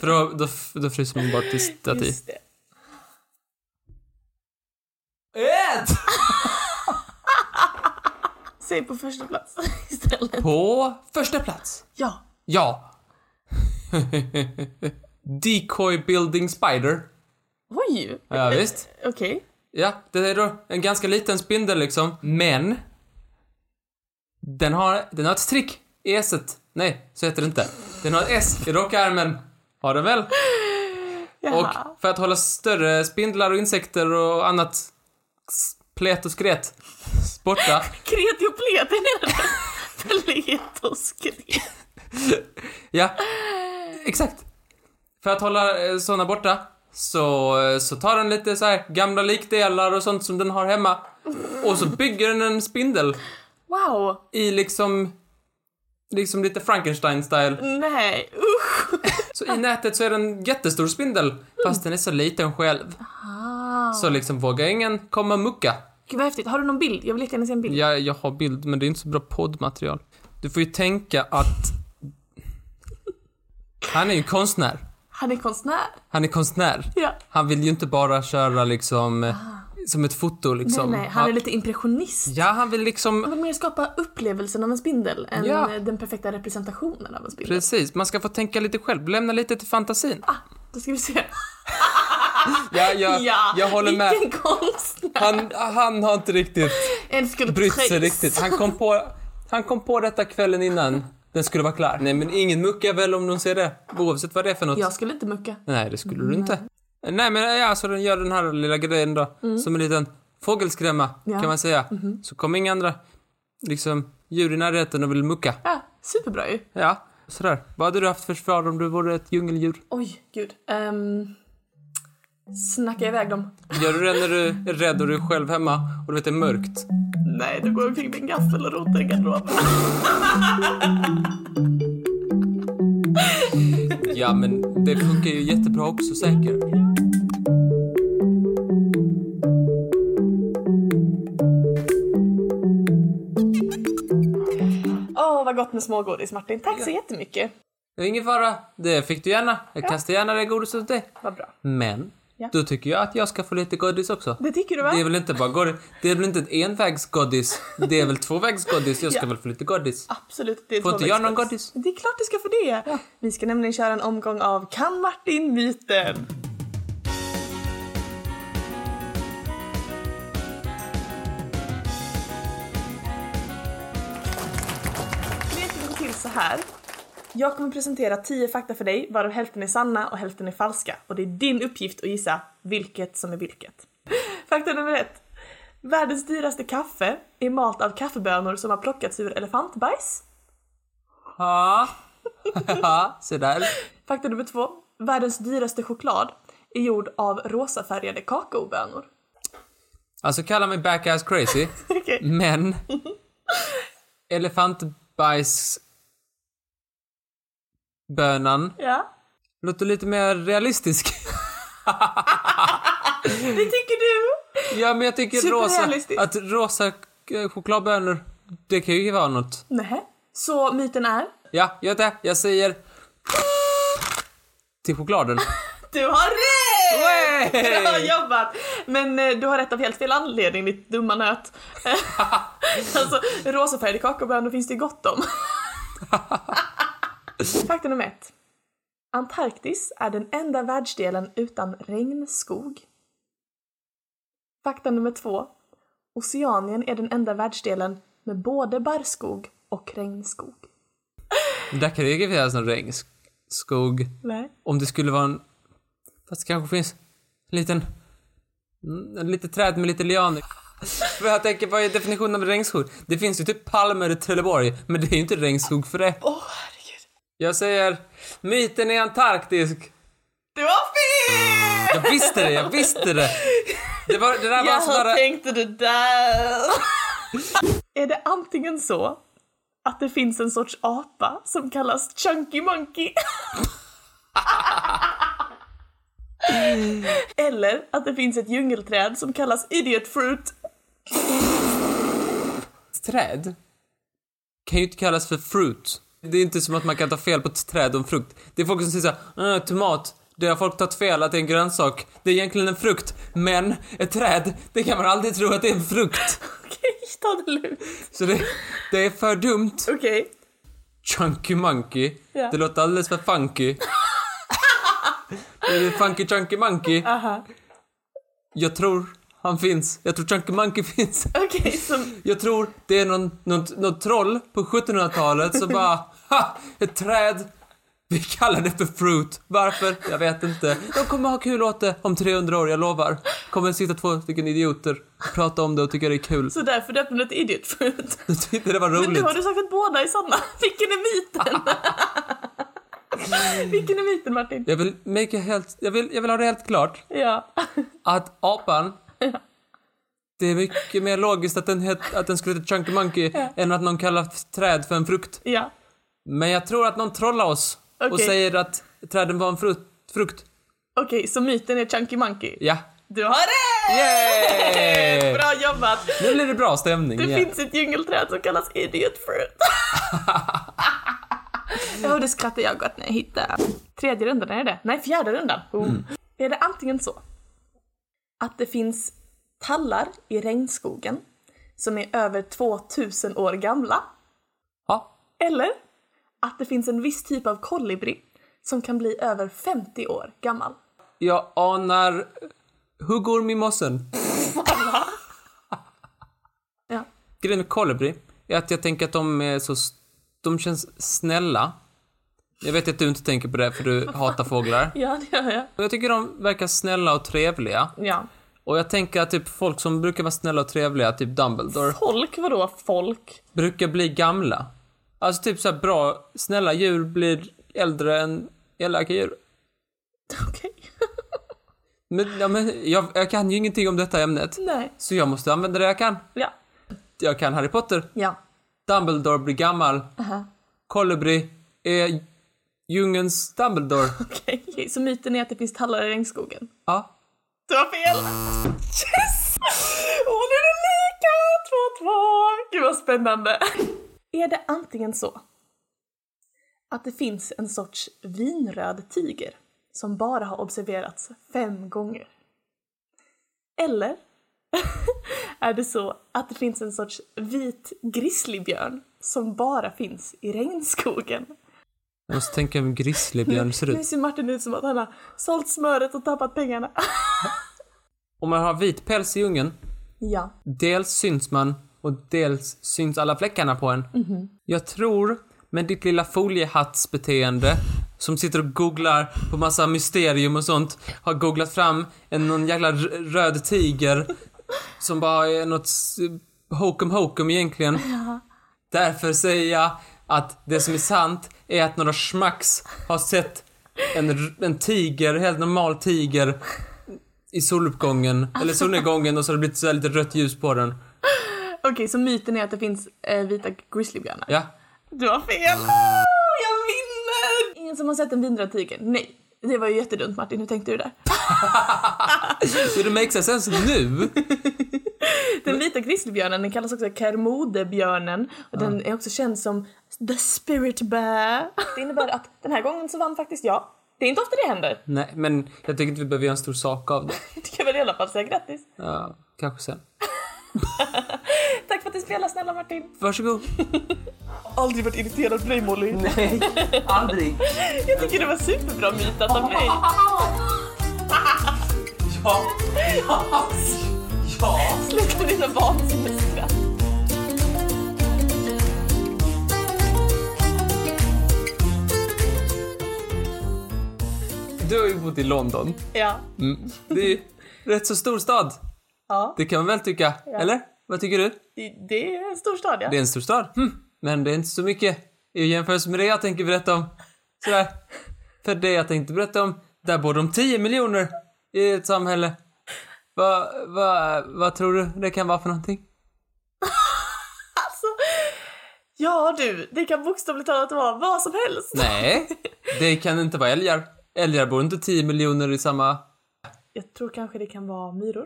S1: För då, då, då fryser man bort till staty.
S2: Just det.
S1: Ett!
S2: Säg på första plats istället.
S1: På första plats.
S2: Ja.
S1: Ja. Decoy Building Spider.
S2: Oj.
S1: Ja, visst.
S2: Okej.
S1: Ja, det är då en ganska liten spindel liksom. Men. Den har, den har ett trick i esset. Nej, så heter det inte. Den har ett S i rockarmen. Har den väl?
S2: Jaha.
S1: Och för att hålla större spindlar och insekter och annat s- plet och skret borta
S2: Kreti och pleten är det. Plet och skret.
S1: Ja, exakt. För att hålla eh, såna borta så, eh, så tar den lite så här gamla likdelar och sånt som den har hemma och så bygger den en spindel
S2: Wow.
S1: i liksom liksom lite Frankenstein-style.
S2: Nej, usch.
S1: Så i nätet så är den en jättestor spindel fast den är så liten själv. Så liksom vågar ingen komma och mucka.
S2: Ah. Gud vad häftigt. Har du någon bild? Jag vill jättegärna se en bild.
S1: Jag, jag har bild men det är inte så bra poddmaterial. Du får ju tänka att han är ju konstnär.
S2: Han är konstnär.
S1: Han är konstnär.
S2: Ja.
S1: Han vill ju inte bara köra liksom eh, som ett foto liksom.
S2: Ah. Nej, nej, han är lite impressionist.
S1: Ja, han vill liksom...
S2: Han vill mer skapa upplevelsen av en spindel än
S1: Ja.
S2: eh, den perfekta representationen av en spindel.
S1: Precis, man ska få tänka lite själv, lämna lite till fantasin.
S2: Ah, då ska vi se.
S1: Ja, jag,
S2: ja,
S1: jag håller med.
S2: Vilken konstnär.
S1: Han, han har inte riktigt
S2: En skulptris.
S1: brytt sig riktigt. Han kom, på, han kom på detta kvällen innan den skulle vara klar. Nej, men ingen muckar väl om de ser det, oavsett vad det är för något.
S2: Jag skulle inte mucka.
S1: Nej, det skulle du inte. Nej, men ja, så den gör den här lilla grejen då, som en liten fågelskrämma,
S2: Ja.
S1: kan man säga. Så kommer inga andra liksom, djur i närheten och vill mucka.
S2: Ja, superbra ju.
S1: Ja, sådär. Vad hade du haft för svar om du vore ett djungeldjur?
S2: Oj, gud. Um, snacka iväg dem.
S1: Gör du det när du är rädd och du är själv hemma och du vet det är mörkt?
S2: Nej, då går jag omkring med en gaffel och rotar i garderoben.
S1: Ja, men det funkar ju jättebra också säkert.
S2: Åh, vad gott med smågodis, Martin. Tack så jättemycket.
S1: Det är ingen fara, det fick du gärna. Jag kastar gärna det godiset åt dig.
S2: Vad bra.
S1: Men,
S2: Ja.
S1: då tycker jag att jag ska få lite godis också.
S2: Det tycker du, va?
S1: Det är väl inte bara godis? Det är väl inte ett envägsgodis? Det är väl tvåvägsgodis? Jag ska
S2: Ja.
S1: väl få lite godis?
S2: Absolut. Det är
S1: Får inte jag någon
S2: tvåvägsgodis.
S1: godis?
S2: Det är klart du ska få det. Vi ska nämligen köra en omgång av Kan Martin-myten. Leken går till så här. Jag kommer presentera 10 fakta för dig varav hälften är sanna och hälften är falska. Och det är din uppgift att gissa vilket som är vilket. Fakta nummer ett. Världens dyraste kaffe är malt av kaffebönor som har plockats ur elefantbajs.
S1: Ja. Haha, se där.
S2: Fakta nummer två. Världens dyraste choklad är gjord av rosafärgade kakaobönor.
S1: Alltså kalla mig back-ass crazy.
S2: Okej.
S1: Men elefantbajs bönan
S2: Ja.
S1: låter lite mer realistisk.
S2: Det tycker du?
S1: ja, men jag tycker rosa,
S2: Superrealistisk.
S1: att rosa eh, chokladbönor, det kan ju vara något.
S2: Nej. Så myten är?
S1: Ja, gör det. Jag säger till chokladen.
S2: Du har rätt!
S1: Wey!
S2: Bra jobbat! Men eh, du har rätt av helt fel anledning, ditt dumma nöt. alltså, rosafärgade kakaobönor finns det ju gott om. Fakta nummer ett. Antarktis är den enda världsdelen utan regnskog. Fakta nummer två. Oceanien är den enda världsdelen med både barrskog och regnskog.
S1: Där kan det ju finnas någon regnskog.
S2: Nej.
S1: Om det skulle vara en... Fast det kanske finns en liten... mm, En litet träd med lite lianer. För jag tänker, vad är definitionen av regnskog? Det finns ju typ palmer i Trelleborg, men det är ju inte regnskog för det.
S2: Åh oh, herregud.
S1: Jag säger, myten är antarktisk.
S2: Det var fel!
S1: Jag visste det, jag visste det. Det, var, alltså det där var
S2: Jag
S1: snarare...
S2: tänkte det där. är det antingen så att det finns en sorts apa som kallas Chunky Monkey? Eller att det finns ett djungelträd som kallas Idiot Fruit?
S1: Träd kan ju inte kallas för fruit. Det är inte som att man kan ta fel på ett träd och en frukt. Det är folk som säger såhär, "Äh, tomat, det har folk tagit fel att det är en grönsak. Det är egentligen en frukt, men ett träd, det kan man aldrig tro att det är en frukt.
S2: Okej, ta det lugnt.
S1: Så det, det är för dumt.
S2: Okej.
S1: Chunky Monkey.
S2: Ja.
S1: Det låter alldeles för funky. det är funky Chunky Monkey.
S2: Aha.
S1: Jag tror han finns. Jag tror Chunky Monkey finns.
S2: Okej, så
S1: Jag tror det är någon, någon, någon troll på 1700-talet som bara ha, ett träd. Vi kallar det för fruit. Varför? Jag vet inte. De kommer ha kul åt det om 300 år, jag lovar. Kommer sitta två stycken idioter och prata om det och tycka det är kul.
S2: Så därför döpte hon det till Idiot Fruit.
S1: Jag tyckte det var
S2: Men nu
S1: roligt.
S2: har du sagt att båda är sanna. Vilken är myten? Vilken är myten Martin?
S1: Jag vill, make helt, jag, vill, jag vill ha det helt klart.
S2: Ja.
S1: att apan det är mycket mer logiskt att den, het, att den skulle heta Chunky Monkey än att någon kallar f- träd för en frukt.
S2: Ja.
S1: Men jag tror att någon trollar oss och
S2: Okej.
S1: säger att träden var en frukt. frukt.
S2: Okej, så myten är Chunky Monkey.
S1: Ja.
S2: Du har det!
S1: Yay!
S2: Bra jobbat!
S1: Nu blir det bra stämning
S2: Det
S1: igen.
S2: finns ett djungelträd som kallas Idiot Fruit. Ja, det skrattade jag gott när jag hittade. Tredje rundan, är det Nej, fjärde rundan. Oh. Är det antingen så att det finns tallar i regnskogen som är över 2000 år gamla
S1: Ja.
S2: Eller att det finns en viss typ av kolibri som kan bli över 50 år gammal.
S1: Jag anar huggorm i mossen.
S2: Ja.
S1: Grejen med kolibri är att jag tänker att de är så... s- De känns snälla. Jag vet att du inte tänker på det för du hatar fåglar.
S2: Ja, det gör jag.
S1: Och Jag tycker de verkar snälla och trevliga.
S2: Ja.
S1: Och jag tänker att typ folk som brukar vara snälla och trevliga, typ Dumbledore,
S2: Folk, vadå folk?
S1: brukar bli gamla. Alltså typ så här bra, snälla djur blir äldre än elaka djur.
S2: Okej.
S1: Men, ja, men jag, jag kan ju ingenting om detta ämnet.
S2: Nej.
S1: Så jag måste använda det jag kan.
S2: Ja.
S1: Jag kan Harry Potter.
S2: Ja.
S1: Dumbledore blir gammal. Kolibri är djungelns Dumbledore.
S2: Okej. Så myten är att det finns tallar i regnskogen.
S1: Ja.
S2: Du har fel! Yes! Och nu är det lika! 2-2! Gud vad spännande! Är det antingen så att det finns en sorts vinröd tiger som bara har observerats fem gånger? Eller är det så att det finns en sorts vit grizzlybjörn som bara finns i regnskogen?
S1: Jag måste tänka hur en grizzlybjörn ser
S2: Nu
S1: ut.
S2: ser Martin ut som att han har sålt smöret och tappat pengarna.
S1: Om man har vit päls i djungeln
S2: ja.
S1: Dels syns man och dels syns alla fläckarna på en. Jag tror, med ditt lilla foliehattsbeteende som sitter och googlar på massa mysterium och sånt, har googlat fram en någon jävla r- röd tiger som bara är något s- hokum hokum egentligen. Därför säger jag att det som är sant är att några schmacks har sett en, r- en tiger, helt normal tiger, i soluppgången, eller solnedgången och så har det blivit så här lite rött ljus på den.
S2: Okej, så myten är att det finns eh, vita grizzlybjörnar?
S1: Ja.
S2: Du har fel! Jag vinner! Ingen som har sett en vinröd tiger? Nej. Det var ju jättedumt Martin, hur tänkte du där?
S1: Så det makes sense nu?
S2: Den vita grizzlybjörnen den kallas också kermodebjörnen och den är också känd som the spirit bear. Det innebär att den här gången så vann faktiskt jag. Det är inte ofta det händer.
S1: Nej, men jag tycker inte vi behöver göra en stor sak av det.
S2: Du kan väl i alla fall säga grattis.
S1: Ja, kanske sen.
S2: Tack för att du spelade snälla Martin.
S1: Varsågod.
S2: Aldrig varit irriterad på dig Molly.
S1: Nej, aldrig.
S2: Jag tycker det var superbra mytat av mig.
S1: Ja. Ja.
S2: Sluta med dina vansinnesskratt.
S1: Du har ju bott i London.
S2: Ja.
S1: Det är ju rätt så stor stad.
S2: Ja,
S1: Det kan man väl tycka? Eller? Vad tycker du?
S2: det- det är en stor stad ja.
S1: Det är en stor stad. Hm. Men det är inte så mycket i jämförelse med det jag tänker berätta om. Sådär. För det jag tänkte berätta om, där bor de 10 miljoner i ett samhälle. Vad, vad, vad tror du det kan vara för någonting?
S2: Alltså, ja du, det kan bokstavligt talat vara vad som helst.
S1: Nej, det kan inte vara älgar. Älgar bor inte 10 miljoner i samma...
S2: Jag tror kanske det kan vara myror.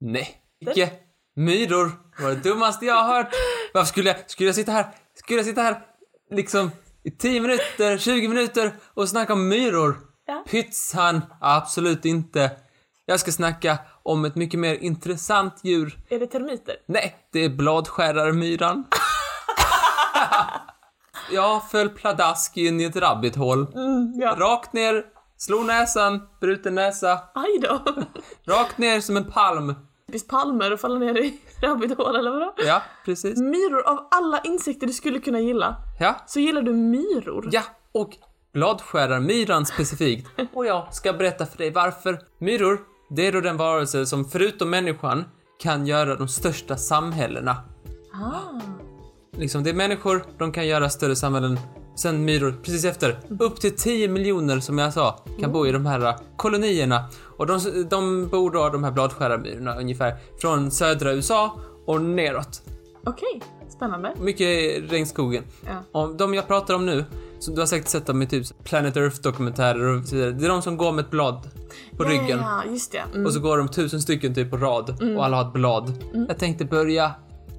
S1: Nej, icke. Myror var det dummaste jag har hört. Varför skulle jag, skulle jag sitta här, skulle jag sitta här liksom i 10 minuter, 20 minuter och snacka om myror?
S2: Ja.
S1: Pytsan, absolut inte. Jag ska snacka om ett mycket mer intressant djur.
S2: Är det termiter?
S1: Nej, det är bladskärarmyran. jag föll pladask in i ett rabbithål.
S2: Ja.
S1: Rakt ner, slog näsan, bruten näsa.
S2: Aj då.
S1: Rakt ner som en palm.
S2: Typiskt palmer och falla ner i rabbithål eller vadå?
S1: Ja, precis.
S2: Myror, av alla insekter du skulle kunna gilla,
S1: Ja,
S2: så gillar du myror.
S1: ja. Och bladskärarmyran specifikt. Och jag ska berätta för dig varför. Myror, det är då den varelse som förutom människan kan göra de största samhällena.
S2: Ah.
S1: Liksom, det är människor, de kan göra större samhällen. Sen myror, precis efter. Upp till 10 miljoner som jag sa, kan bo i de här kolonierna. Och de, de bor då, de här bladskärarmyrorna, ungefär från södra USA och neråt.
S2: Okej, spännande.
S1: Mycket i regnskogen.
S2: Ja.
S1: Om de jag pratar om nu, så du har säkert sett dem i typ Planet Earth-dokumentärer och så vidare. Det är de som går med ett blad på ryggen.
S2: Ja, Mm. just det. Mm.
S1: Och så går de tusen stycken typ på rad och alla har ett blad. Jag tänkte börja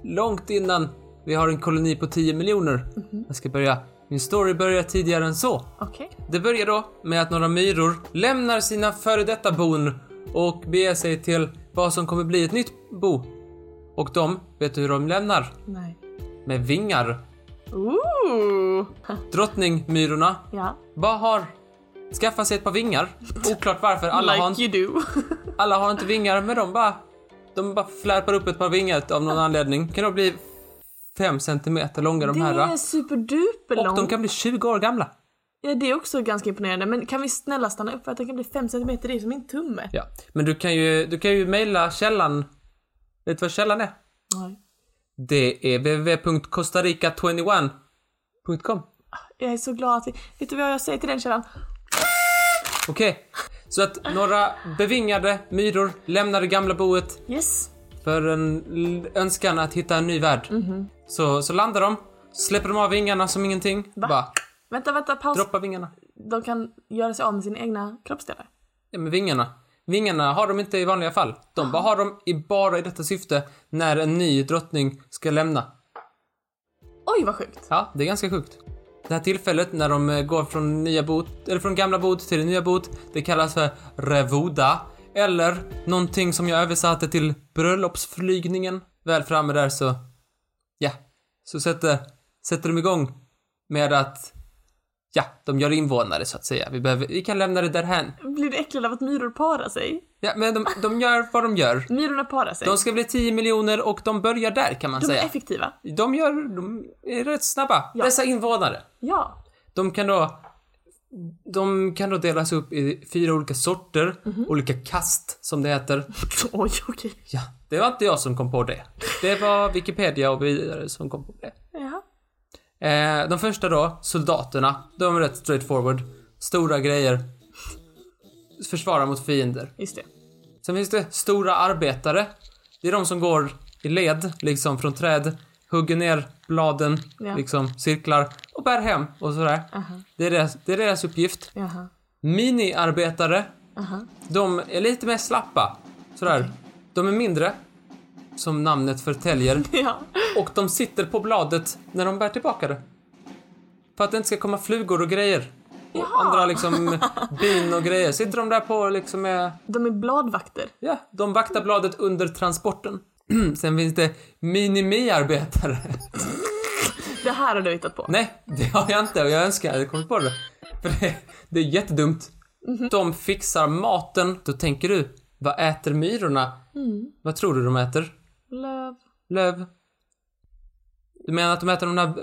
S1: långt innan vi har en koloni på 10 miljoner.
S2: Mm-hmm.
S1: Jag ska börja, min story börjar tidigare än så.
S2: Okej.
S1: Det börjar då med att några myror lämnar sina före detta bon och beger sig till vad som kommer bli ett nytt bo. Och de, vet du hur de lämnar?
S2: Nej.
S1: Med vingar.
S2: Ooh.
S1: Drottningmyrorna
S2: Ja,
S1: bara har skaffat sig ett par vingar. Oklart varför, alla har inte
S2: like you do.
S1: Alla har inte vingar, men de bara... De bara flärpar upp ett par vingar av
S2: Ah.
S1: någon anledning. Kan då bli 5 centimeter långa de
S2: det
S1: här.
S2: är superduper
S1: Och de kan bli 20 år gamla.
S2: Ja, det är också ganska imponerande. Men kan vi snälla stanna upp för att den kan bli 5 cm, det är som min tumme.
S1: Ja. Men du kan ju, du kan ju mejla källan. Vet du vad källan är?
S2: Nej.
S1: Det är www.costarica21.com.
S2: Jag är så glad att vi... Vet du vad jag säger till den källan?
S1: Okej. Så att några bevingade myror lämnar det gamla boet
S2: Yes.
S1: för en l- önskan att hitta en ny värld. Så, så landar de, släpper de av vingarna som ingenting. Bara
S2: Vänta, vänta, paus.
S1: droppar vingarna.
S2: De kan göra sig av med sina egna kroppsdelar.
S1: Ja, men vingarna. Vingarna har de inte i vanliga fall. De bara har dem i bara i detta syfte när en ny drottning ska lämna.
S2: Oj, vad sjukt.
S1: Ja, det är ganska sjukt. Det här tillfället när de eh, går från, nya bot, eller från gamla bot till det nya bot, det kallas för revoda. Eller någonting som jag översatte till bröllopsflygningen. Väl framme där så, ja, så sätter, sätter de igång med att, ja, de gör invånare så att säga. Vi, behöver, vi kan lämna det därhän.
S2: Blir du äcklad av att myror parar sig?
S1: Ja, men de, de gör vad de gör.
S2: Myrorna parar sig.
S1: De ska bli 10 miljoner och de börjar där kan man
S2: De är
S1: säga.
S2: effektiva.
S1: De gör, de är rätt snabba.
S2: Ja.
S1: Dessa invånare.
S2: Ja.
S1: De kan då, de kan då delas upp i fyra olika sorter, olika kast som det heter.
S2: Oj, okej.
S1: Ja, det var inte jag som kom på det. Det var Wikipedia och vidare som kom på det.
S2: Ja.
S1: Eh, de första då, soldaterna, de är rätt straightforward. Stora grejer. Försvara mot fiender.
S2: Just det.
S1: Sen finns det stora arbetare. Det är de som går i led, liksom från träd, hugger ner bladen,
S2: Ja.
S1: liksom cirklar och bär hem och sådär. Det, är deras, det är deras uppgift.
S2: Jaha.
S1: Miniarbetare,
S2: Aha.
S1: de är lite mer slappa. Sådär. De är mindre, som namnet förtäljer.
S2: Ja.
S1: Och de sitter på bladet när de bär tillbaka det. För att det inte ska komma flugor och grejer. Och andra liksom bin och grejer. Sitter de där på liksom med
S2: De är bladvakter.
S1: Ja, de vaktar bladet under transporten. Sen finns det minimiarbetare.
S2: Det här har du hittat på.
S1: Nej, det har jag inte och jag önskar jag hade kommit på det. För det, det är jättedumt. De fixar maten. Då tänker du, vad äter myrorna? Vad tror du de äter?
S2: Löv.
S1: Löv? Du menar att de äter de där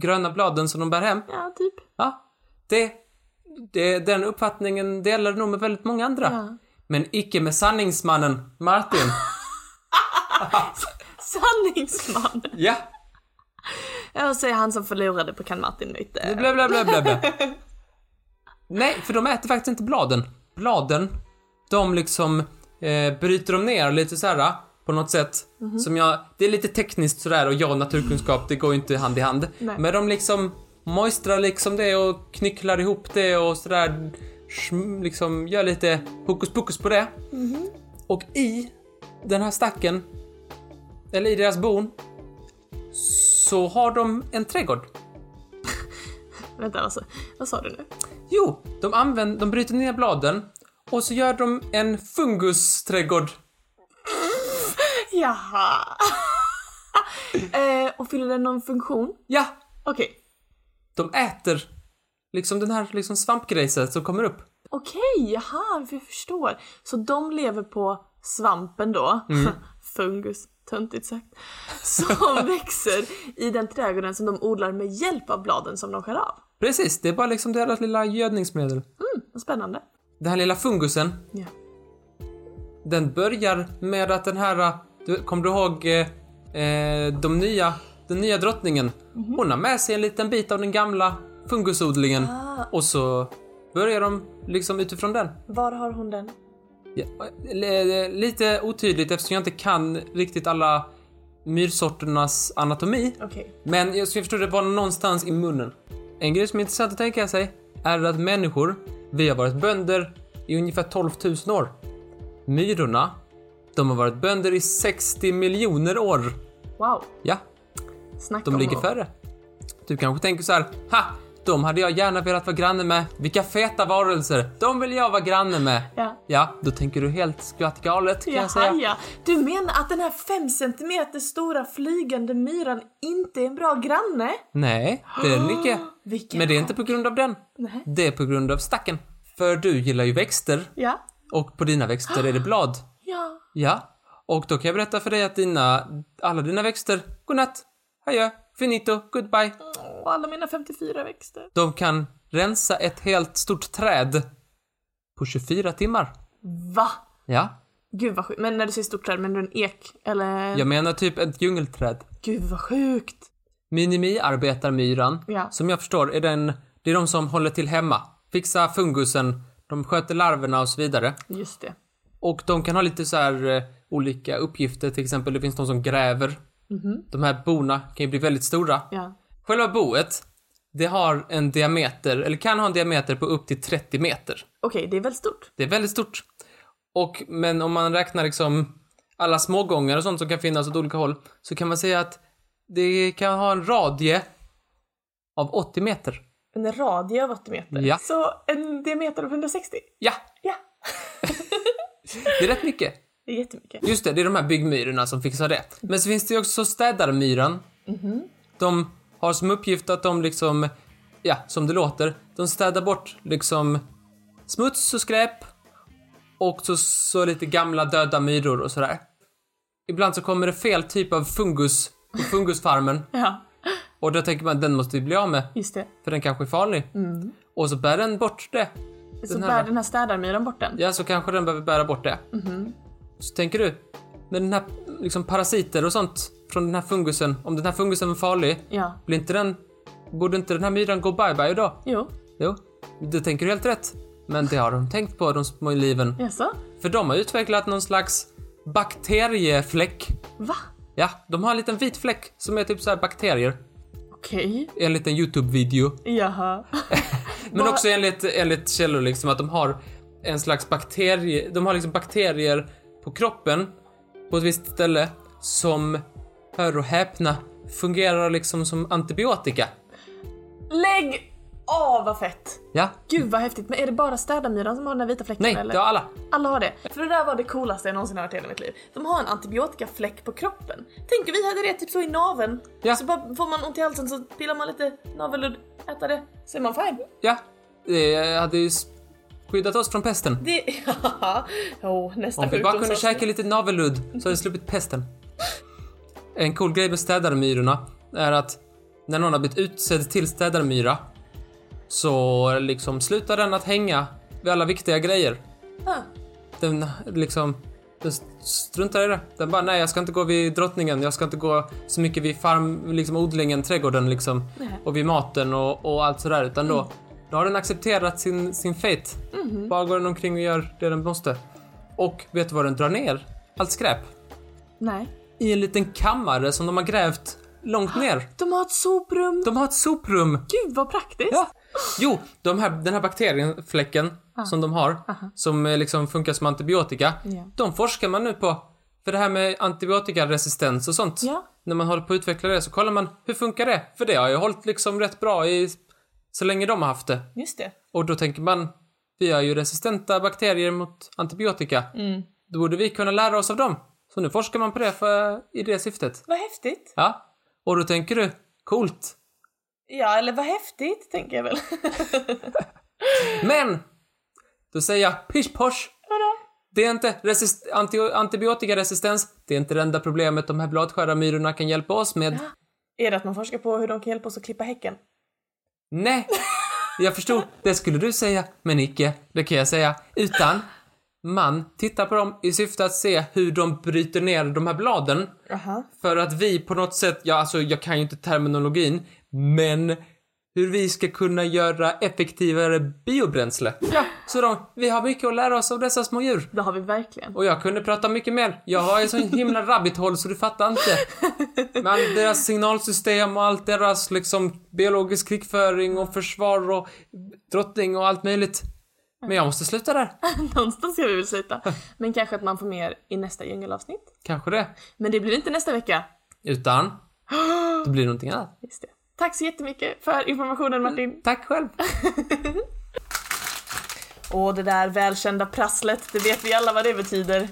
S1: gröna bladen som de bär hem?
S2: Ja, typ.
S1: Ja, det, det, den uppfattningen delar nog med väldigt många andra.
S2: Ja.
S1: Men icke med sanningsmannen Martin.
S2: Sanningsman!
S1: Ja!
S2: Och så är han som förlorade på Kan Martin Myte.
S1: Blä, blä, blä, blä, blä. Nej, för de äter faktiskt inte bladen. Bladen, de liksom eh, bryter de ner lite så här på något sätt. Som jag, det är lite tekniskt sådär och jag och naturkunskap, det går ju inte hand i hand.
S2: Nej.
S1: Men de liksom moistrar liksom det och knycklar ihop det och sådär schm- liksom gör lite hokus pokus på det. Och i den här stacken, eller i deras bon, så har de en trädgård.
S2: Vänta, alltså, vad sa du nu?
S1: Jo, de, använder, de bryter ner bladen och så gör de en fungusträdgård.
S2: Jaha! eh, och fyller den någon funktion?
S1: Ja,
S2: Okej.
S1: de äter liksom den här liksom svampgrejset som kommer upp.
S2: Okej, jaha, vi förstår. Så de lever på svampen då, fungus, töntigt sagt, som växer i den trädgården som de odlar med hjälp av bladen som de skär av. Mm,
S1: Precis, det är bara liksom deras lilla gödningsmedel.
S2: Vad spännande.
S1: Den här lilla fungusen,
S2: Ja.
S1: den börjar med att den här, du, kommer du ihåg eh, eh, de nya, den nya drottningen? Hon har med sig en liten bit av den gamla fungusodlingen och så börjar de liksom utifrån den.
S2: Var har hon den?
S1: Ja, l- lite otydligt eftersom jag inte kan riktigt alla myrsorternas anatomi.
S2: Okej.
S1: Men jag skulle förstå det var någonstans i munnen. En grej som är intressant att tänka sig är att människor, vi har varit bönder i ungefär 12 000 år. Myrorna, de har varit bönder i 60 miljoner år.
S2: Wow.
S1: Ja,
S2: Snacka
S1: de
S2: om
S1: ligger
S2: att-
S1: före. Du kanske tänker så här, ha! De hade jag gärna velat vara granne med. Vilka feta varelser! De vill jag vara granne med.
S2: Ja.
S1: Ja, då tänker du helt skvatt galet kan jag
S2: Jaha,
S1: säga.
S2: ja. Du menar att den här fem centimeter stora flygande myran inte är en bra granne?
S1: Nej, det är den icke.
S2: Vilken
S1: Men det är inte på grund av den.
S2: Nej.
S1: Det är på grund av stacken. För du gillar ju växter
S2: Ja.
S1: och på dina växter är det blad.
S2: Ja.
S1: Ja, och då kan jag berätta för dig att dina, alla dina växter, godnatt, adjö, finito, goodbye.
S2: Och alla mina 54 växter.
S1: De kan rensa ett helt stort träd på 24 timmar.
S2: Va?
S1: Ja,
S2: Gud vad sjukt. Men när du säger stort träd, menar du en ek? Eller?
S1: jag menar typ ett djungelträd.
S2: Gud vad sjukt.
S1: Minimiarbetarmyran,
S2: Ja.
S1: som jag förstår är den, det är de som håller till hemma. Fixa fungusen, de sköter larverna och så vidare.
S2: Just det.
S1: Och de kan ha lite så här eh, olika uppgifter, till exempel det finns de som gräver. De här bona kan ju bli väldigt stora.
S2: Ja.
S1: Själva boet, det har en diameter, eller kan ha en diameter på upp till 30 meter.
S2: Okej, det är väldigt stort.
S1: Det är väldigt stort. Och, men om man räknar liksom alla smågångar och sånt som kan finnas åt olika håll, så kan man säga att det kan ha en radie av 80 meter.
S2: En radie av 80 meter.
S1: Ja.
S2: Så en diameter av 160.
S1: Ja,
S2: Ja.
S1: det är rätt mycket.
S2: Det är jättemycket.
S1: Just det, det är de här byggmyrorna som fixar det. Men så finns det ju också städarmyran. De har som uppgift att de liksom, ja, som det låter, de städar bort liksom smuts och skräp och så, så lite gamla döda myror och sådär. Ibland så kommer det fel typ av fungus på fungusfarmen
S2: Ja.
S1: och då tänker man den måste vi bli av med
S2: Just det.
S1: för den kanske är farlig. Och så bär den bort det.
S2: så
S1: här
S2: bär
S1: då?
S2: den här städarmyran bort den.
S1: Ja, så kanske den behöver bära bort det. Så tänker du, när den här liksom parasiter och sånt från den här fungusen, om den här fungusen var farlig,
S2: Ja.
S1: blir inte den, borde inte den här myran gå bye-bye då?
S2: Jo.
S1: Jo, du tänker helt rätt. Men det har de tänkt på, de små liven.
S2: Jaså?
S1: För de har utvecklat någon slags bakteriefläck.
S2: Va?
S1: Ja, de har en liten vit fläck som är typ så här bakterier.
S2: Okej.
S1: Enligt en YouTube-video.
S2: Jaha.
S1: Men
S2: Vad-
S1: också enligt, enligt källor liksom att de har en slags bakterie, de har liksom bakterier på kroppen på ett visst ställe som, hör och häpna, fungerar liksom som antibiotika.
S2: Lägg av vad fett!
S1: Ja.
S2: Gud vad häftigt. Men är det bara städarmyran som har den här vita fläcken
S1: Nej,
S2: eller?
S1: det har alla.
S2: Alla har det. För det där var det coolaste jag någonsin har hört i hela mitt liv. De har en antibiotikafläck på kroppen. Tänk om vi hade det typ så i naveln.
S1: Ja.
S2: Så bara får man ont i halsen så pillar man lite navelludd, äter det, så är man fine.
S1: Ja. Det hade ju s- skyddat oss från pesten.
S2: Det... oh, nästa
S1: Om vi bara kunde
S2: sjukdomsavsnitt.
S1: käka lite navelludd så hade vi sluppit pesten. En cool grej med städarmyrorna är att när någon har blivit utsedd till städarmyra så liksom slutar den att hänga vid alla viktiga grejer.
S2: Ah,
S1: den liksom Den struntar i det. Den bara, nej jag ska inte gå vid drottningen, jag ska inte gå så mycket vid farm, liksom odlingen, trädgården liksom.
S2: Nej.
S1: Och vid maten och, och allt sådär. Utan då, då har den accepterat sin, sin fate. Bara går den omkring och gör det den måste. Och vet du vad den drar ner? Allt skräp.
S2: Nej.
S1: I en liten kammare som de har grävt långt ner.
S2: De har ett soprum.
S1: De har ett soprum.
S2: Gud vad praktiskt.
S1: Ja. Jo, de här, den här bakteriefläcken som de har, som eh, liksom funkar som antibiotika,
S2: Ah. Ja.
S1: de forskar man nu på. För det här med antibiotikaresistens och sånt,
S2: Ja.
S1: när man håller på att utveckla det så kollar man, hur funkar det? För det har ju hållit liksom rätt bra i så länge de har haft det.
S2: Just det.
S1: Och då tänker man, vi har ju resistenta bakterier mot antibiotika.
S2: Mm.
S1: Då borde vi kunna lära oss av dem. Så nu forskar man på det för, i det syftet.
S2: Vad häftigt.
S1: Ja. Och då tänker du, coolt.
S2: Ja, eller vad häftigt tänker jag väl.
S1: Men! Då säger jag pish posh.
S2: Vadå?
S1: Det är inte resist- anti- antibiotikaresistens. Det är inte det enda problemet de här bladskära myrorna kan hjälpa oss med.
S2: Är det att man forskar på hur de kan hjälpa oss att klippa häcken?
S1: Nej! Jag förstod. Det skulle du säga, men icke. Det kan jag säga. Utan man tittar på dem i syfte att se hur de bryter ner de här bladen.
S2: Aha.
S1: För att vi på något sätt, ja alltså jag kan ju inte terminologin, men hur vi ska kunna göra effektivare biobränsle. Ja, så de, vi har mycket att lära oss av dessa små djur.
S2: Det har vi verkligen.
S1: Och jag kunde prata mycket mer. Jag har ju sån himla rabbithål så du fattar inte. Men all deras signalsystem och allt deras liksom biologisk krigföring och försvar och drottning och allt möjligt. Men jag måste sluta där.
S2: Någonstans ska vi väl sluta. Men kanske att man får mer i nästa djungelavsnitt.
S1: Kanske det.
S2: Men det blir inte nästa vecka.
S1: Utan, då blir det någonting annat.
S2: Just det. Mm. Tack så jättemycket för informationen Martin.
S1: Tack själv.
S2: Och det där välkända prasslet, det vet vi alla vad det betyder.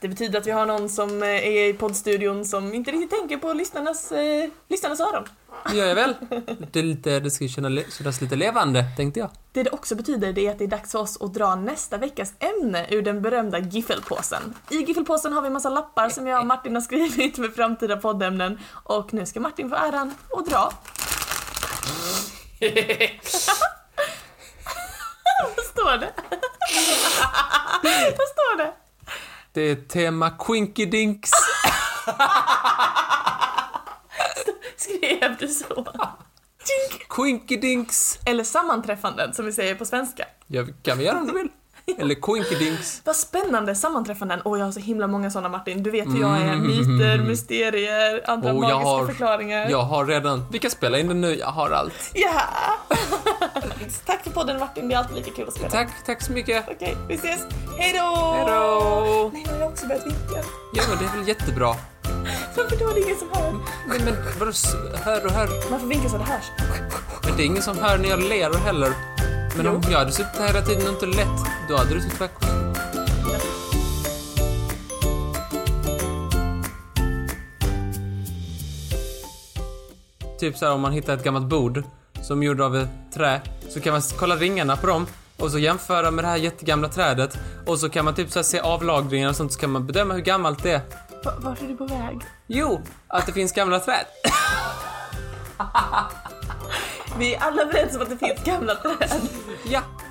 S2: Det betyder att vi har någon som eh, är i poddstudion som inte riktigt tänker på lyssnarnas, eh, lyssnarnas öron.
S1: Det gör jag väl. Det, är lite, det ska ju känna- kännas lite levande, tänkte jag.
S2: Det det också betyder det är att det är dags för oss att dra nästa veckas ämne ur den berömda giffelpåsen. I giffelpåsen har vi en massa lappar som jag och Martin har skrivit med framtida poddämnen och nu ska Martin få äran att dra. Vad står det? Vad står det?
S1: Det är tema Quinky Dinks.
S2: Skrev du så? Tink.
S1: Quinky Dinks.
S2: Eller sammanträffanden som vi säger på svenska.
S1: Ja, kan vi göra om du vill. Eller Quinky Dinks.
S2: Vad spännande sammanträffanden. Åh, jag har så himla många sådana Martin. Du vet hur jag är. Myter, mysterier, andra
S1: Och Mm. Oh, jag
S2: magiska
S1: har-
S2: förklaringar.
S1: Jag har redan... Vi kan spela in den nu, jag har allt.
S2: Ja! Tack för podden Martin, det är alltid lika kul att spela.
S1: Tack, tack så mycket.
S2: Okej, vi ses. Hej då!
S1: Hejdå!
S2: Nej, nu har jag också börjat vinka.
S1: Ja, men det är väl jättebra.
S2: Varför då? Det är ingen som hör.
S1: Men, men vadå, s- hör och hör?
S2: Man får vinka så det hörs.
S1: Men det är ingen som hör när jag ler heller. Men om jag hade suttit här hela tiden och inte lett, då hade du tyckt det var konstigt. Typ så här om man hittar ett gammalt bord som är gjort av ett trä så kan man s- kolla ringarna på dem och så jämföra med det här jättegamla trädet och så kan man typ så här se avlagringar och sånt så kan man bedöma hur gammalt det är.
S2: Va- Vart är du på väg?
S1: Jo, att det finns gamla träd.
S2: Vi är alla överens om att det finns gamla träd.
S1: ja.